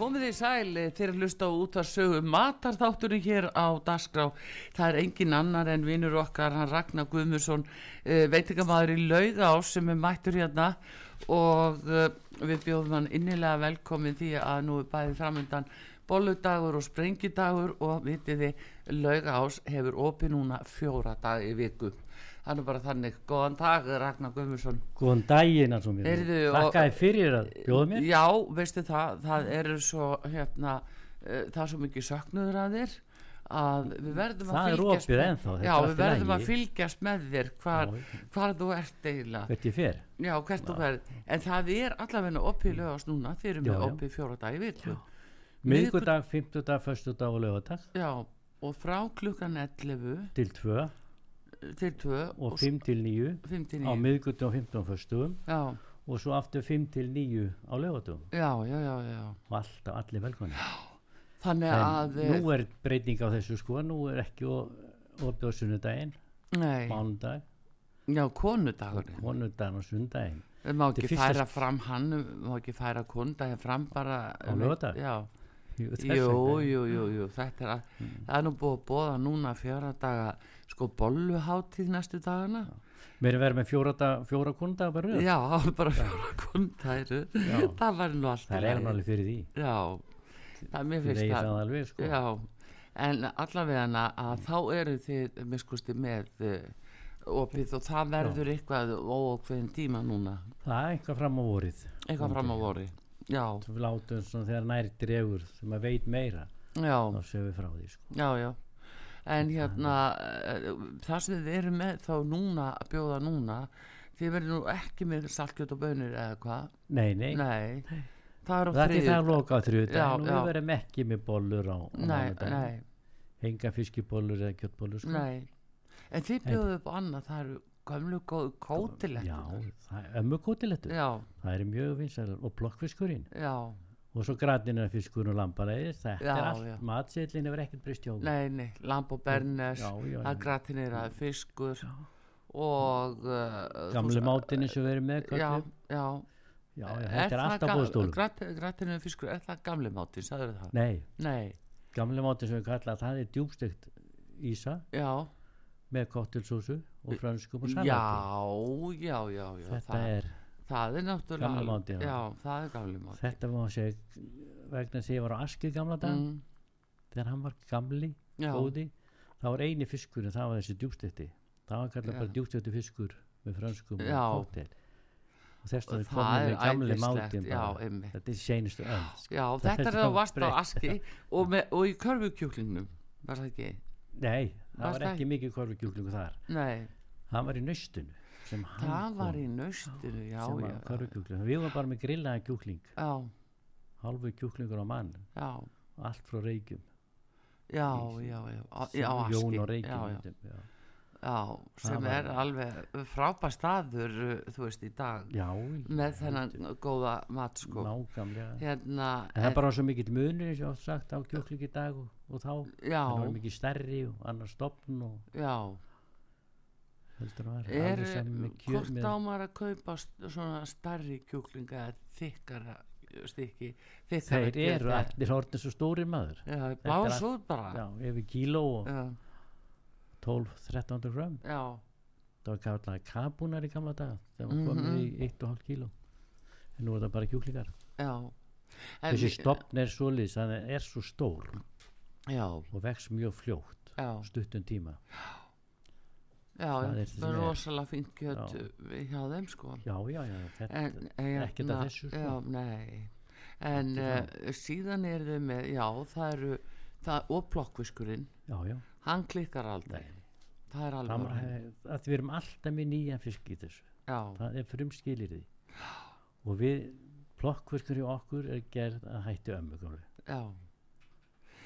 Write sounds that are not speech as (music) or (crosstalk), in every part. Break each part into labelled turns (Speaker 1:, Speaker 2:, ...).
Speaker 1: Komið þið sæl eh, þeir að hlusta á útvarsögu matarþátturinn hér á Dasgrá. Það er engin annar en vinnur okkar, hann Ragnar Guðmursson, eh, veitingamæður í Laugás sem er mættur hérna og eh, við bjóðum hann innilega velkomin því að nú er bæðið framöndan bolludagur og sprengidagur og vitið þið Laugás hefur opið núna fjóra dag í viku. Það er bara þannig. Góðan dag Ragnar Guðmursson.
Speaker 2: Góðan daginn að svo mér.
Speaker 1: Heyrðu, og-
Speaker 2: Þakkaði fyrir að bjóða mér.
Speaker 1: Já, veistu það, það eru svo hérna, uh, það er svo mikið söknuður að þér að við verðum
Speaker 2: Það
Speaker 1: að
Speaker 2: er
Speaker 1: fylgjast
Speaker 2: opið
Speaker 1: með-
Speaker 2: ennþá, þetta
Speaker 1: Já,
Speaker 2: er allt í
Speaker 1: við verðum
Speaker 2: lagi.
Speaker 1: að fylgjast með þér hvar,
Speaker 2: Já.
Speaker 1: hvar þú ert eiginlega
Speaker 2: Hvert ég fer.
Speaker 1: Já, hvert þú verð En það er allavega opið lögast núna þeir eru
Speaker 2: Já,
Speaker 1: með
Speaker 2: já.
Speaker 1: opið fjóra dag í viku Miðviku-
Speaker 2: Miðgudag, fimmtudag, föstudag og lögadag
Speaker 1: Já, og frá klukkan 11
Speaker 2: til 2
Speaker 1: til 2
Speaker 2: og 5 til 9
Speaker 1: 5 til
Speaker 2: á
Speaker 1: 9
Speaker 2: miðgudag og 15 föstudum
Speaker 1: Já,
Speaker 2: og svo aftur 5 til 9 á lögadum
Speaker 1: já, já, já, já
Speaker 2: og alltaf allir velkvæmni.
Speaker 1: Þannig
Speaker 2: En
Speaker 1: að eh,
Speaker 2: nú er breyting á þessu sko, nú er ekki opið á sunnudaginn,
Speaker 1: eh, Nei,
Speaker 2: mánudag,
Speaker 1: já, konudagurinn
Speaker 2: konudaginn og sundaginn.
Speaker 1: Við Eh, má
Speaker 2: Þetta
Speaker 1: ekki
Speaker 2: er fyrsta
Speaker 1: færa
Speaker 2: sk-
Speaker 1: fram hann, við má ekki færa kunda hér fram bara eh,
Speaker 2: Á laugardag?
Speaker 1: Já,
Speaker 2: Jú, þess
Speaker 1: jú,
Speaker 2: vegna.
Speaker 1: jú, jú, jú, þetta er að,
Speaker 2: Mm.
Speaker 1: það er nú búið að bóða núna fjóra daga, sko, bolluháttíð næstu dagana.
Speaker 2: Mér er verið með fjóra, dag- fjóra konudaginn bara röð.
Speaker 1: Já, (laughs) bara fjóra kunda eru, það var nú allt. í
Speaker 2: Það
Speaker 1: lagi.
Speaker 2: er alveg fyrir því.
Speaker 1: Já, það mér
Speaker 2: Ég
Speaker 1: finnst
Speaker 2: vegi
Speaker 1: það,
Speaker 2: það alveg sko.
Speaker 1: já, en allavega að þá eru þið, mér skusti, með uh, opið og það verður eitthvað óokveðin tíma núna,
Speaker 2: Það er eitthvað fram á vorið.
Speaker 1: eitthvað fram á vori. Já,
Speaker 2: Svo við látum svona þegar nær dregur sem að veit meira
Speaker 1: já.
Speaker 2: þá séum við frá því sko.
Speaker 1: Já, já. En hérna, eh, það sem þið eru með þá núna, að bjóða núna, þið verður nú ekki með salkjöt og bönir eða hvað.
Speaker 2: Nei, nei,
Speaker 1: Nei. Það er á
Speaker 2: það er því það
Speaker 1: þriðju.
Speaker 2: er loka á
Speaker 1: Já,
Speaker 2: þriðutag
Speaker 1: já.
Speaker 2: og við verðum ekki með bollur á, á
Speaker 1: Nei,
Speaker 2: mánudag.
Speaker 1: nei,
Speaker 2: enga fiskibólur eða kjöttbólur sko.
Speaker 1: nei. En þið bjóðu upp á annað, það eru gömlu góðu kótilegt.
Speaker 2: Já, það er ömmu kótilettur
Speaker 1: Já,
Speaker 2: það er mjög vinsælar og blokkfiskurinn
Speaker 1: já.
Speaker 2: og svo gratinnar fiskurinn og lambalæðir þetta
Speaker 1: Já,
Speaker 2: er allt,
Speaker 1: já.
Speaker 2: matsýllin hefur ekkert breyst hjá okkur.
Speaker 1: Nei, nei, lamb og bernes,
Speaker 2: Já, já,
Speaker 1: það
Speaker 2: já.
Speaker 1: gratinir að fiskur og... Uh,
Speaker 2: gamle mátinni sem við erum með
Speaker 1: Já,
Speaker 2: kallum.
Speaker 1: já.
Speaker 2: já, já, þetta er alltaf búðstólum
Speaker 1: Gratinir að fiskur, er það gamle mátin, sagður það?
Speaker 2: nei,
Speaker 1: Nei,
Speaker 2: gamle mátin sem við kallað það er djúbstegt ísa
Speaker 1: já,
Speaker 2: með kottelsósu og franskum og
Speaker 1: já,
Speaker 2: salati
Speaker 1: já, já, já,
Speaker 2: þetta
Speaker 1: það,
Speaker 2: er,
Speaker 1: það er náttúrulega,
Speaker 2: Gamli máti, já.
Speaker 1: já. það er gamli máti.
Speaker 2: þetta má segja vegna þess að ég var á Aski gamla dag
Speaker 1: Mm,
Speaker 2: þegar hann var gamli,
Speaker 1: já,
Speaker 2: góði þá var eini fiskurinn, það var þessi djúbstætti það var kallað
Speaker 1: Já.
Speaker 2: bara djúbstætti fiskur með franskum
Speaker 1: Já.
Speaker 2: og koktel og þess
Speaker 1: og
Speaker 2: vegna
Speaker 1: það
Speaker 2: komum
Speaker 1: er
Speaker 2: við gamli
Speaker 1: æðislegt,
Speaker 2: mátin
Speaker 1: já,
Speaker 2: bara.
Speaker 1: einmitt.
Speaker 2: þetta er seinustu sko. öll
Speaker 1: Já,
Speaker 2: Það
Speaker 1: þetta
Speaker 2: er
Speaker 1: er það
Speaker 2: svo
Speaker 1: vast á
Speaker 2: breytt.
Speaker 1: aski og, með, og í körfukjúklingnum, var það ekki?
Speaker 2: nei,
Speaker 1: Varst
Speaker 2: það var
Speaker 1: það
Speaker 2: ekki mikið korfugjöklingu þar
Speaker 1: Nei,
Speaker 2: hann var í nöstunu sem hann
Speaker 1: það var
Speaker 2: kom,
Speaker 1: í naustinu, já,
Speaker 2: sem
Speaker 1: já,
Speaker 2: var korfugjöklingu við varum bara með grillaða kjúkling
Speaker 1: já,
Speaker 2: halvu kjúklingur á mann,
Speaker 1: já,
Speaker 2: allt frá reykjum
Speaker 1: já, já, já, á- já, á aski.
Speaker 2: Jón og
Speaker 1: já, já.
Speaker 2: reykjum já, já.
Speaker 1: Já, sem
Speaker 2: var-
Speaker 1: er alveg frábær staður, uh, þú veist, í dag
Speaker 2: Já,
Speaker 1: með þennan góða mat, sko.
Speaker 2: nákvæmlega.
Speaker 1: Hérna,
Speaker 2: En það er bara svo mikill munur eins og ég oft sagt á kjóklingi í dag og, og þá.
Speaker 1: já,
Speaker 2: Það var mikið stærri og annar stopn og
Speaker 1: já.
Speaker 2: heldur að það
Speaker 1: Er,
Speaker 2: alveg saman með kjör
Speaker 1: hvort
Speaker 2: með.
Speaker 1: á maður að kaupa st- svona starri kjúklinga eða þykkara stykki þykkara
Speaker 2: Þeir eru allir hortið svo stóri maður.
Speaker 1: allir
Speaker 2: er
Speaker 1: blás
Speaker 2: allt-
Speaker 1: út bara
Speaker 2: Já, yfir kíló og
Speaker 1: Ah. já,
Speaker 2: 12-13 gram.
Speaker 1: já,
Speaker 2: Það var kallega kabúnar í gamla dag. Það var komið
Speaker 1: Mhm.
Speaker 2: í 1,5 kíló. En nú er það bara kjúklingar.
Speaker 1: já. En,
Speaker 2: Þessi stopn er svo lýs, þannig er svo stór
Speaker 1: já,
Speaker 2: og vex mjög fljótt
Speaker 1: já,
Speaker 2: á stuttum tíma.
Speaker 1: já,
Speaker 2: Það
Speaker 1: já,
Speaker 2: er sem
Speaker 1: það
Speaker 2: er.
Speaker 1: er rosalega fínt kjött
Speaker 2: Já.
Speaker 1: uh, hjá þeim sko
Speaker 2: Já, já, já. Þetta,
Speaker 1: en, en, hérna-
Speaker 2: ekkert af þessu, sko.
Speaker 1: já, nei en uh, síðan er þau með, já, það eru það, og plokkviskurinn,
Speaker 2: já, já.
Speaker 1: hann klikkar aldrei það er
Speaker 2: Það
Speaker 1: alveg,
Speaker 2: var- að við erum alltaf með nýjan fisk í þessu
Speaker 1: já,
Speaker 2: það er frumskilir því og við plokkverkur í okkur er gerð að hætti ömmugálu
Speaker 1: já,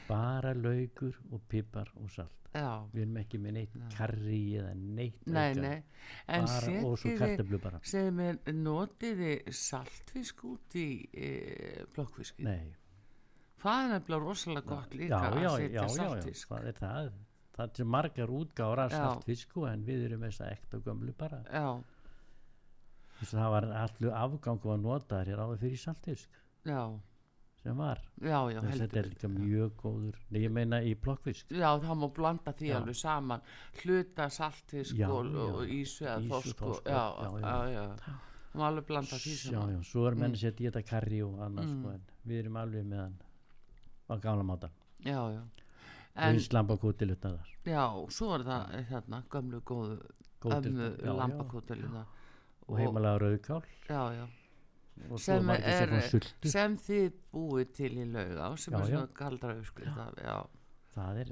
Speaker 2: bara laukur og pipar og salt
Speaker 1: já
Speaker 2: við erum ekki með neitt karri eða neitt
Speaker 1: Nei,
Speaker 2: aukað.
Speaker 1: nei, en
Speaker 2: bara, og svo
Speaker 1: setiði,
Speaker 2: kartablu bara
Speaker 1: segðum mér, notiði saltfisk út í e, blokkfiski?
Speaker 2: nei,
Speaker 1: Það er nefnilega rosalega gott
Speaker 2: já,
Speaker 1: líka
Speaker 2: já,
Speaker 1: að
Speaker 2: já,
Speaker 1: setja
Speaker 2: já, já,
Speaker 1: saltfisk.
Speaker 2: það er það það er margar útgáður af
Speaker 1: Já.
Speaker 2: saltfisku en við erum þess að ekta gömlu bara
Speaker 1: Já, já,
Speaker 2: Þess að það var allur afgangu að nota hér áður fyrir í saltfisk
Speaker 1: já,
Speaker 2: sem var
Speaker 1: já, já,
Speaker 2: Þess, þetta er
Speaker 1: heldur
Speaker 2: líka mjög góður Nei, ég meina í plokkfisk
Speaker 1: Já, það má blanda því
Speaker 2: Já.
Speaker 1: alveg saman hluta saltfisk
Speaker 2: Já,
Speaker 1: og,
Speaker 2: já.
Speaker 1: og ísu eða
Speaker 2: Ýsu,
Speaker 1: þorsku
Speaker 2: þorsku,
Speaker 1: já,
Speaker 2: já, já.
Speaker 1: já, já, það má alveg blanda því
Speaker 2: já,
Speaker 1: saman
Speaker 2: já, svo er
Speaker 1: Mm.
Speaker 2: menn sett í þetta karri og annars sko, en við erum alveg með hann á gamla máta
Speaker 1: já, já. En,
Speaker 2: við slampa kútilutna þar
Speaker 1: já, svo var það þarna, gömlu góðu ömmu
Speaker 2: Kútilutnar, já, já.
Speaker 1: lambakótelina
Speaker 2: og heimalega rauðkál
Speaker 1: já, já,
Speaker 2: og svo
Speaker 1: sem
Speaker 2: margir sem
Speaker 1: er
Speaker 2: fá sultu
Speaker 1: sem þið búið til í laugá sem
Speaker 2: Já,
Speaker 1: er
Speaker 2: já.
Speaker 1: svona galdra uppskrifta já,
Speaker 2: það er,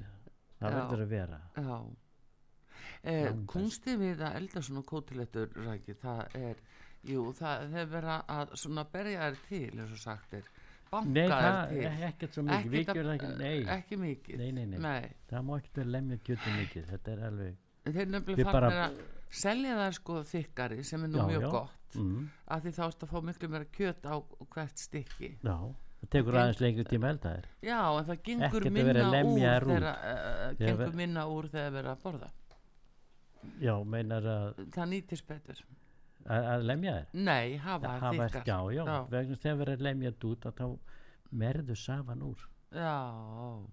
Speaker 2: það
Speaker 1: Já.
Speaker 2: verður að vera
Speaker 1: já eh,
Speaker 2: Langbest.
Speaker 1: kunstið við að elda svona kótilettur ræki, það er jú, það hefur verið að svona berja þær til, eins og sagt er banka
Speaker 2: nei,
Speaker 1: þær
Speaker 2: það
Speaker 1: til
Speaker 2: er ekkert svo mikið við
Speaker 1: að-
Speaker 2: gerum það ekki, nei,
Speaker 1: ekki mikið
Speaker 2: nei, nei, nei.
Speaker 1: Nei.
Speaker 2: það má ekkert vera lemja kjötu mikið þetta er alveg
Speaker 1: þeir
Speaker 2: Við
Speaker 1: nefnilega
Speaker 2: bara-
Speaker 1: fannir að selja það sko þykkari sem er nú
Speaker 2: Já,
Speaker 1: mjög
Speaker 2: já.
Speaker 1: gott
Speaker 2: mm,
Speaker 1: af því þá ertu að fá miklu meira kjöt á hvert stykki
Speaker 2: já, það tekur
Speaker 1: Geng-
Speaker 2: aðeins lengri tíma elda þér
Speaker 1: Já, en það gengur
Speaker 2: Ekkert að
Speaker 1: minna
Speaker 2: vera að
Speaker 1: úr
Speaker 2: lemja þær út.
Speaker 1: þegar uh,
Speaker 2: Þegar
Speaker 1: gengur
Speaker 2: ver-
Speaker 1: minna úr þegar verið að borða
Speaker 2: já, meinar að,
Speaker 1: Það nýtist betur
Speaker 2: að, að lemja þér
Speaker 1: Nei, hafa
Speaker 2: það var,
Speaker 1: þykkar
Speaker 2: já, já,
Speaker 1: Já.
Speaker 2: vegna þess að vera að lemja þetta út að þá merðu safan úr
Speaker 1: Já,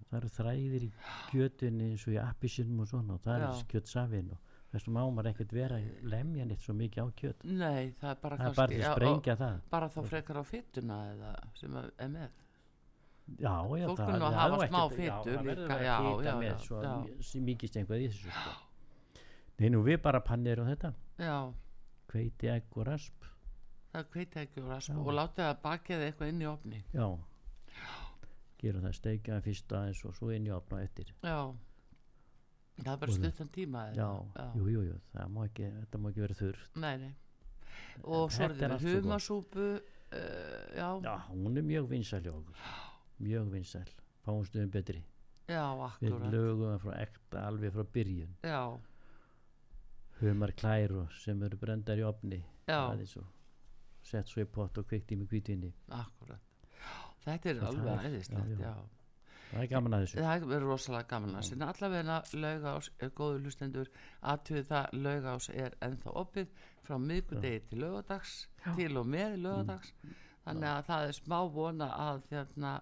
Speaker 2: það eru þræðir í kjötunni eins og í appisinum og svona og það
Speaker 1: Já.
Speaker 2: er kjöt safin og þessum má maður ekkert vera að lemja neitt svo mikið á kjöt
Speaker 1: nei, það er bara
Speaker 2: það er bara til
Speaker 1: já,
Speaker 2: að
Speaker 1: og
Speaker 2: sprengja það
Speaker 1: bara þá frekar á fytuna eða sem að- er með
Speaker 2: já, já,
Speaker 1: Fólk
Speaker 2: það
Speaker 1: mun nú að
Speaker 2: það
Speaker 1: hafa
Speaker 2: á
Speaker 1: smá
Speaker 2: ekkert- já,
Speaker 1: fitu
Speaker 2: það verður
Speaker 1: líka,
Speaker 2: að
Speaker 1: já,
Speaker 2: fita
Speaker 1: já,
Speaker 2: með
Speaker 1: já,
Speaker 2: svo
Speaker 1: já.
Speaker 2: mj- sem mikið stengvað í þessu sko. nei, nú við bara pannir á þetta
Speaker 1: Já,
Speaker 2: hveiti, egg og rasp
Speaker 1: það kveita ekki úr
Speaker 2: Já.
Speaker 1: rasp og látið að bakið eitthvað inn í opni
Speaker 2: já gerum það steikja það fyrst aðeins og svo inn í opna eftir
Speaker 1: Já Það er bara
Speaker 2: Og-
Speaker 1: stuttan tíma eða?
Speaker 2: já, jú, jú, jú, það má ekki þetta má ekki vera þurr
Speaker 1: Nei, nei Og svo er
Speaker 2: þetta er
Speaker 1: þetta
Speaker 2: allt
Speaker 1: með
Speaker 2: svo gott.
Speaker 1: humasúpu uh, já, já,
Speaker 2: já, hún er mjög vinsæl hjá okkur mjög vinsæl, fáum stöðum betri við
Speaker 1: akkúrat.
Speaker 2: lögum það frá ekta alveg frá byrjun
Speaker 1: Já,
Speaker 2: humar klæru sem eru brendar í opni
Speaker 1: já,
Speaker 2: aðeins og sett svo í pott og kveikt í með kvítinni
Speaker 1: akkurat Þetta er
Speaker 2: Það
Speaker 1: alveg
Speaker 2: er-
Speaker 1: æðislegt,
Speaker 2: já, já.
Speaker 1: já,
Speaker 2: það er gaman að þessu
Speaker 1: Það er rosalega gaman að sinna allavegna laugás er góður hlustendur aðtöðu það laugás er ennþá opið frá miðgudegi til laugardags til og með laugardags
Speaker 2: Mm.
Speaker 1: þannig að það er smá vona að þérna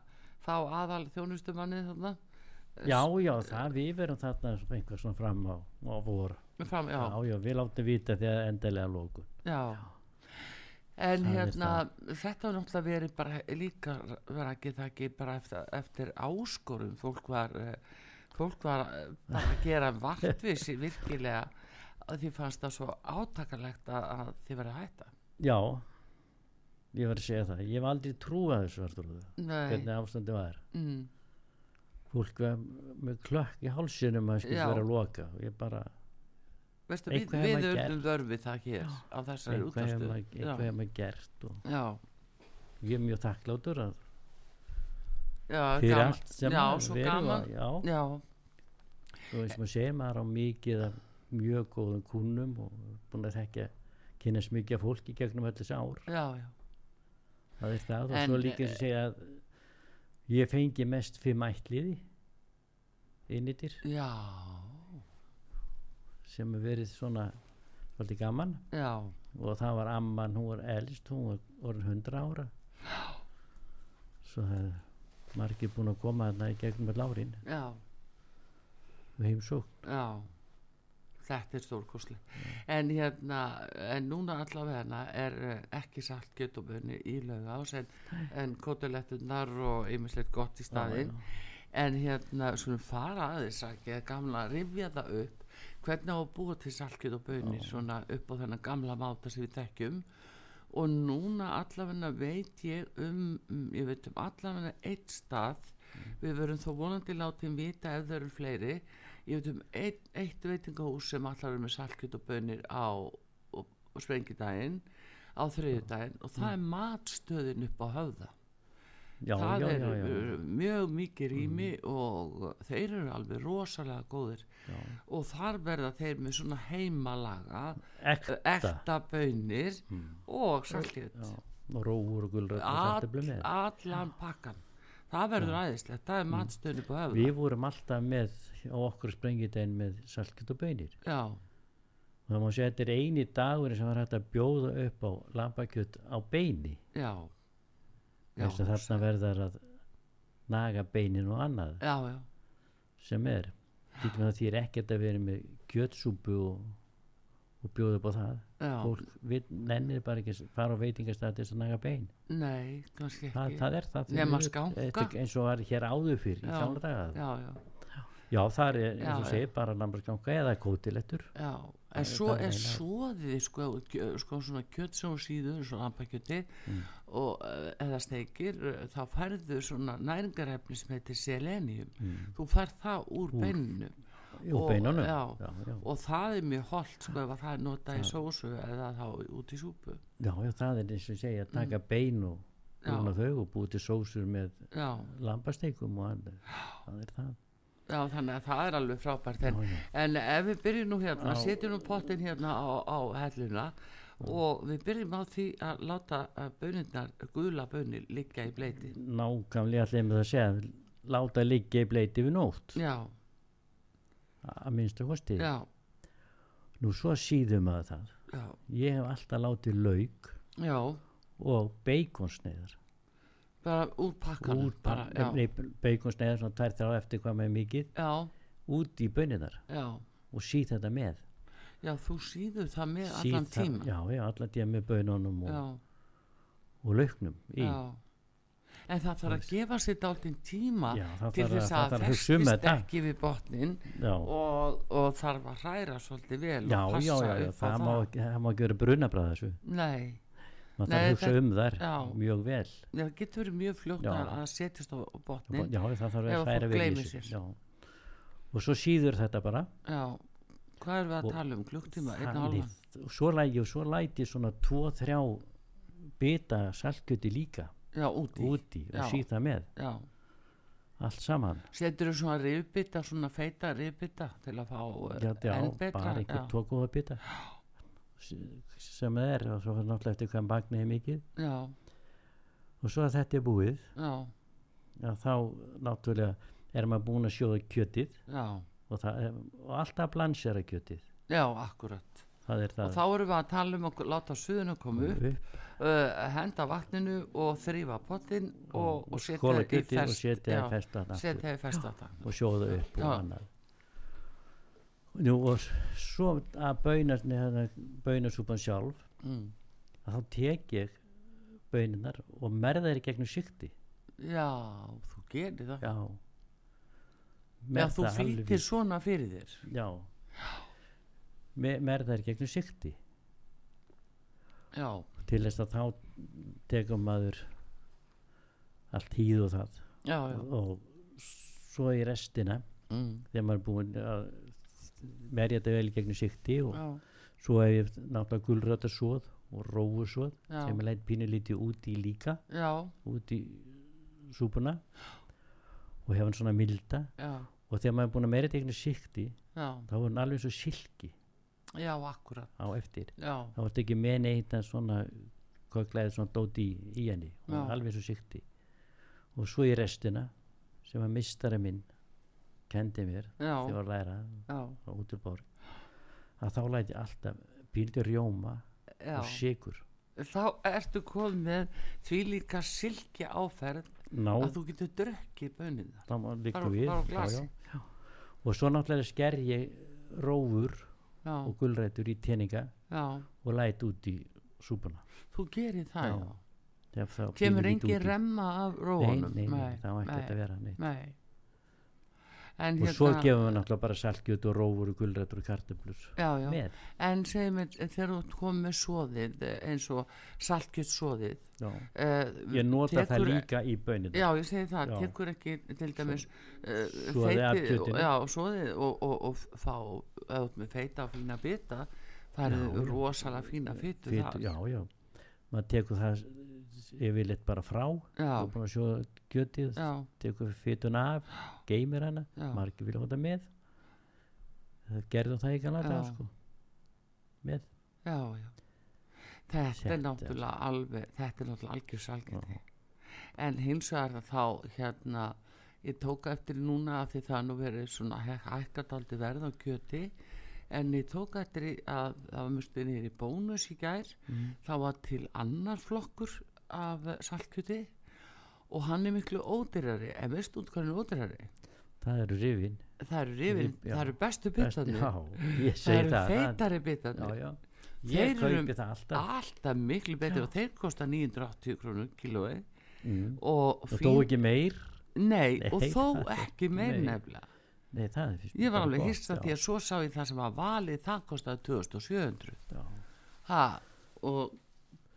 Speaker 1: fá aðal þjónustumanni þarna
Speaker 2: já, já, það við verum þarna svo- einhver svona fram á, á vor
Speaker 1: fram, já,
Speaker 2: já, já, við látum vita þegar endilega lóku
Speaker 1: Já. En
Speaker 2: Það er
Speaker 1: hérna, þetta var náttúrulega verið bara líka vera ekki það ekki bara eftir, eftir áskorum fólk var, eh, fólk var eh, bara að gera vartvísi virkilega að því fannst það svo átakalegt að, að þið verið að hætta.
Speaker 2: já, ég var að segja það ég var aldrei trúað þessu Arnþrúður,
Speaker 1: Nei,
Speaker 2: hvernig ástandi var
Speaker 1: mm,
Speaker 2: fólk var með klökk í hálsinum að skilja
Speaker 1: Já.
Speaker 2: vera að loka og ég bara,
Speaker 1: veistu, við,
Speaker 2: Eitthvað hefur
Speaker 1: við
Speaker 2: maður
Speaker 1: urðum vörfið það hér á þessari
Speaker 2: eitthvað hef
Speaker 1: útastu.
Speaker 2: maður- eitthvað
Speaker 1: Já,
Speaker 2: hef maður gert og
Speaker 1: já,
Speaker 2: ég er mjög þakklátur að
Speaker 1: já,
Speaker 2: fyrir
Speaker 1: gaman.
Speaker 2: allt sem
Speaker 1: já,
Speaker 2: að
Speaker 1: svo
Speaker 2: verið
Speaker 1: gaman.
Speaker 2: var, já,
Speaker 1: Já,
Speaker 2: og eins og maður segir maður á mikið af mjög góðum kunnum og búin að þekka kynast mikið af fólki gegnum öll þessi ár
Speaker 1: já, já,
Speaker 2: það er það og
Speaker 1: En, eh,
Speaker 2: svo líka eins og segja að ég fengi mest fimm ætliði innitir
Speaker 1: já,
Speaker 2: sem er verið svona svolítið gaman
Speaker 1: já,
Speaker 2: og það var amman, hún var elst hún var orðin hundra ára svo það er margir búin að koma þarna í gegnum öll árin
Speaker 1: já.
Speaker 2: við heimsók
Speaker 1: Já, þetta er stórkosli. En hérna, en núna allavega er eh, ekki salt göttubunni í laugás en, en kótulettunar og ymislegt gott í staðinn. En hérna, skulum fara aðeins að geða gamla, rifja það upp. Hvernig á að búa til saltkjöt og bönir svona upp á þennan gamla máta sem við tekjum og núna allavega veit ég um, um- ég veit um allavega eitt stað við verum þó vonandi látið vita ef þau eru fleiri ég veit um eitt, eitt veitingahús sem allar eru með saltkjöt og bönir á og, og sprengidaginn á þriðjudaginn og það er matstöðin upp á höfða
Speaker 2: já,
Speaker 1: það
Speaker 2: já,
Speaker 1: er
Speaker 2: já, Mm. já,
Speaker 1: uh, mjög mikið rými og þeir eru alveg rosalega góðir
Speaker 2: já.
Speaker 1: og þar verða þeir með svona heimalaga
Speaker 2: Ekta. Mm.
Speaker 1: ekta bönir og saltkjöt
Speaker 2: Já, og rófur og gulröð og
Speaker 1: All-
Speaker 2: saltið blöð með Mm.
Speaker 1: allan pakkan það verður aðeinslegt, það er matstöðin upp á höfða
Speaker 2: við vorum alltaf með á okkur sprengidegin með saltkjöt og bönir
Speaker 1: já,
Speaker 2: og það má segja að þetta er eini dagur sem var hægt að bjóða upp á lambakjöt á beini
Speaker 1: já já,
Speaker 2: þess að þarna verðar að naga beinin og annað
Speaker 1: já, já,
Speaker 2: sem er Lítum að því er ekkert að vera með kjötsúpu og, og bjóða upp á það
Speaker 1: já.
Speaker 2: fólk við, nennir bara ekki að fara á veitingastæð til þess að naga bein
Speaker 1: nei, kannski
Speaker 2: það,
Speaker 1: ekki
Speaker 2: það er það því
Speaker 1: Nema
Speaker 2: miður.
Speaker 1: skánka.
Speaker 2: Þetta er eins og var hér áður fyrr í
Speaker 1: Já.
Speaker 2: gamla daga já.
Speaker 1: já, já,
Speaker 2: það er eins
Speaker 1: Já,
Speaker 2: og
Speaker 1: já.
Speaker 2: segir bara lambarskanka eða kótilettur
Speaker 1: já
Speaker 2: er
Speaker 1: en svo
Speaker 2: það
Speaker 1: er
Speaker 2: eiginlega.
Speaker 1: svoðið sko, gjö- sko svona kjött sem hún síður svona lampakjöti
Speaker 2: Mm.
Speaker 1: og eh, eða steikir eh, þá færðu svona næringarefni sem heitir selenium þú færð það úr beininu
Speaker 2: og
Speaker 1: Mm. Og-
Speaker 2: beinunum
Speaker 1: já.
Speaker 2: Já, já.
Speaker 1: og það er mjög holdt sko ef að það er notað í sósu eða þá út í súpu
Speaker 2: já, já, það er eins og segja að taka bein og
Speaker 1: Mm. Já.
Speaker 2: brúna þau og búið til sósur með
Speaker 1: já,
Speaker 2: lambasteikum og annað það er það
Speaker 1: já, þannig að það er alveg frábært en,
Speaker 2: já.
Speaker 1: en ef við byrjum nú hérna,
Speaker 2: Já.
Speaker 1: setjum nú pottin hérna á, á helluna og við byrjum á því að láta eh, bönirnar, guðla bönir liggja í bleiti
Speaker 2: nákvæmlega allir með að segja láta liggja í bleiti við nótt
Speaker 1: já,
Speaker 2: að minnsta kosti
Speaker 1: já,
Speaker 2: nú svo síðum að það
Speaker 1: já,
Speaker 2: ég hef alltaf látið lauk
Speaker 1: já
Speaker 2: og beikonsneiðar
Speaker 1: bara úr pakkanum
Speaker 2: út
Speaker 1: bara, já,
Speaker 2: beikonsneiðar svona tær þrjá eftir hvað með mikið
Speaker 1: já,
Speaker 2: út í bönniðar
Speaker 1: já,
Speaker 2: og síð þetta með
Speaker 1: já, þú síður það með
Speaker 2: Síð
Speaker 1: allan
Speaker 2: það-
Speaker 1: tíma
Speaker 2: já, já, allan tíma með bönunum og,
Speaker 1: já.
Speaker 2: og lauknum í
Speaker 1: Já. En það þarf að gefa sér dálítinn tíma
Speaker 2: Já, það
Speaker 1: til
Speaker 2: þarf að-
Speaker 1: þess
Speaker 2: það
Speaker 1: að
Speaker 2: þarf
Speaker 1: það
Speaker 2: að hugsa um
Speaker 1: festist
Speaker 2: þetta.
Speaker 1: ekki við botnin
Speaker 2: já,
Speaker 1: og, og þarf að hræra svolítið vel
Speaker 2: já,
Speaker 1: og
Speaker 2: já,
Speaker 1: passa
Speaker 2: já,
Speaker 1: upp
Speaker 2: já
Speaker 1: á
Speaker 2: það, má, ekki- það má ekki vera brunabræð þessu
Speaker 1: Nei, Nei,
Speaker 2: maður þarf að hugsa
Speaker 1: þetta-
Speaker 2: um þar
Speaker 1: já.
Speaker 2: mjög vel
Speaker 1: Nei, það getur verið mjög fljótt
Speaker 2: Já.
Speaker 1: að að setjast á
Speaker 2: já,
Speaker 1: botnin Já,
Speaker 2: það þarf
Speaker 1: Ef að
Speaker 2: að
Speaker 1: fólk
Speaker 2: færa vel í
Speaker 1: gleymir
Speaker 2: þessu
Speaker 1: sér.
Speaker 2: já. og svo síður þetta bara
Speaker 1: hvað erum við að
Speaker 2: Og-
Speaker 1: tala um? Klukktíma, einn og
Speaker 2: Þannig-
Speaker 1: hálfan
Speaker 2: og svo lægi og svo læti svona 2-3 bita saltkjöti líka
Speaker 1: Já, út í
Speaker 2: úti og
Speaker 1: Já.
Speaker 2: síða með
Speaker 1: Já,
Speaker 2: allt saman
Speaker 1: setur svona rifbita, svona feita rifbita til að fá eh,
Speaker 2: já, já,
Speaker 1: enn betra
Speaker 2: bara einhver
Speaker 1: já.
Speaker 2: tvo góða bita S- sem það er og svo fyrir náttúrulega eftir hvað magni er mikið
Speaker 1: já,
Speaker 2: og svo að þetta er búið
Speaker 1: já,
Speaker 2: já, þá náttúrulega er maður búin að sjóða kjötið
Speaker 1: já,
Speaker 2: og, það, er- og alltaf blansera kjötið
Speaker 1: já, akkurat
Speaker 2: það er
Speaker 1: Og
Speaker 2: það Mm.
Speaker 1: þá erum við að tala um að láta suðuna koma upp,
Speaker 2: upp,
Speaker 1: uh, henda vatninu og þrýfa pottin og, og setja
Speaker 2: skóla
Speaker 1: í
Speaker 2: kjötið og
Speaker 1: ferst,
Speaker 2: setja það
Speaker 1: já,
Speaker 2: í festa þarna aftur.
Speaker 1: setja í fest þetta.
Speaker 2: og sjóða upp og
Speaker 1: Já.
Speaker 2: annað Nú, og s- svo að baunar baunarsúpan sjálf
Speaker 1: Mm.
Speaker 2: að þá tek ég baununar og merða þær í gegnum sikti
Speaker 1: Já, þú gerir það.
Speaker 2: já
Speaker 1: Já, þú
Speaker 2: Merða alveg
Speaker 1: flýtir svona fyrir þér.
Speaker 2: í- já Me- merða þær í gegnum sikti
Speaker 1: Já,
Speaker 2: til þess að þá tekum maður allt hýð og það
Speaker 1: já, já.
Speaker 2: og svo í restina
Speaker 1: Mm.
Speaker 2: þegar maður er búinn að merja þetta vel í gegnum sikti og
Speaker 1: Já,
Speaker 2: svo hef ég náttúrulega gulrötarsóð og róusóð
Speaker 1: Já.
Speaker 2: sem ég læt pínulítið út í líka
Speaker 1: já,
Speaker 2: út í súpuna og hef hann svona milda
Speaker 1: já,
Speaker 2: og þegar maður er búin að meira tegna sikti
Speaker 1: já,
Speaker 2: þá er hann alveg eins og silki
Speaker 1: já, akkurat.
Speaker 2: á eftir
Speaker 1: Já,
Speaker 2: þá er ekki með neitt að svona köklaðið svona dóti í, í henni hún
Speaker 1: Já.
Speaker 2: er alveg eins og sikti og svo í restina sem að mistari minn kendi mér
Speaker 1: já,
Speaker 2: þegar ég var að læra
Speaker 1: já,
Speaker 2: á útuborg að þá læt ég alltaf pínulítið rjóma
Speaker 1: já.
Speaker 2: og sigur
Speaker 1: Þá ertu komið með því líka silkja áferð
Speaker 2: ná,
Speaker 1: að þú getur drukkið bönið það.
Speaker 2: þá má líka
Speaker 1: bara-
Speaker 2: við
Speaker 1: bara á
Speaker 2: já, já,
Speaker 1: glasi.
Speaker 2: já. og svo náttúrulega sker ég rófur
Speaker 1: Já,
Speaker 2: og gulrætur í teninga
Speaker 1: já,
Speaker 2: og læt út í súpuna
Speaker 1: þú gerir það,
Speaker 2: Já.
Speaker 1: já.
Speaker 2: Þegar þá
Speaker 1: kemur
Speaker 2: pínulítið
Speaker 1: engin
Speaker 2: út í-
Speaker 1: remma af
Speaker 2: nei,
Speaker 1: róunum
Speaker 2: nei, nei, það var ekki þetta að vera neitt.
Speaker 1: nei. En, hérna-
Speaker 2: og svo gefum við náttúrulega bara salkjöt og rófur og gulrætur og kartöflur
Speaker 1: já, já.
Speaker 2: með
Speaker 1: en segjum við þegar þú ert komið með svoðið eh, eins og saltkjöld svoðið
Speaker 2: já.
Speaker 1: uh,
Speaker 2: ég nota það
Speaker 1: Tekur-
Speaker 2: líka í böninu
Speaker 1: já ég segi það,
Speaker 2: Já.
Speaker 1: tekur ekki til dæmis uh,
Speaker 2: Soðið af
Speaker 1: og,
Speaker 2: kjötinu.
Speaker 1: já, svoðið og, og, og fá öðvut með feita og fína bita það
Speaker 2: Já,
Speaker 1: eru
Speaker 2: já.
Speaker 1: rosalega fína fytu þar.
Speaker 2: já, já maður tekur það yfirleitt bara frá
Speaker 1: já,
Speaker 2: og búin að sjóða kjötið
Speaker 1: já,
Speaker 2: tekur fytuna af, geymir hana
Speaker 1: já.
Speaker 2: margir vilja hóta með það gerðum það ekki alveg
Speaker 1: Já.
Speaker 2: sko. með
Speaker 1: já, já. Þetta
Speaker 2: Þetta
Speaker 1: er
Speaker 2: er-
Speaker 1: náttúrulega alveg, þetta er náttúrulega algjör salgindi. En hins vegar þá, hérna, ég tóka eftir núna að því það er nú verið svona hækkataldi verð á kjöti, en ég tóka eftir í að það var mjög niður í bónus í gær,
Speaker 2: Mm.
Speaker 1: þá var til annar flokkur af eh, saltkjöti og hann er miklu ódýrari en veist út hvað hann er ódýrari
Speaker 2: það eru rifin
Speaker 1: það eru rifin,
Speaker 2: já.
Speaker 1: það eru bestu
Speaker 2: Best-
Speaker 1: bitarnir
Speaker 2: já,
Speaker 1: það
Speaker 2: ég segi
Speaker 1: eru
Speaker 2: það, það
Speaker 1: feitari
Speaker 2: já,
Speaker 1: bitarnir
Speaker 2: já. ég
Speaker 1: Þeir eru-
Speaker 2: kaupi það alltaf
Speaker 1: alltaf miklu betur og þeir kosta 980 krónum kílói
Speaker 2: mm.
Speaker 1: og
Speaker 2: og dó ekki meir
Speaker 1: nei,
Speaker 2: Nei,
Speaker 1: og þó
Speaker 2: það er-
Speaker 1: ekki meir
Speaker 2: nei.
Speaker 1: nefnilega
Speaker 2: Nei, það er fyrst
Speaker 1: ég var alveg hissa því að svo sá ég það sem var valið það kostaði 2700
Speaker 2: já,
Speaker 1: ha, og,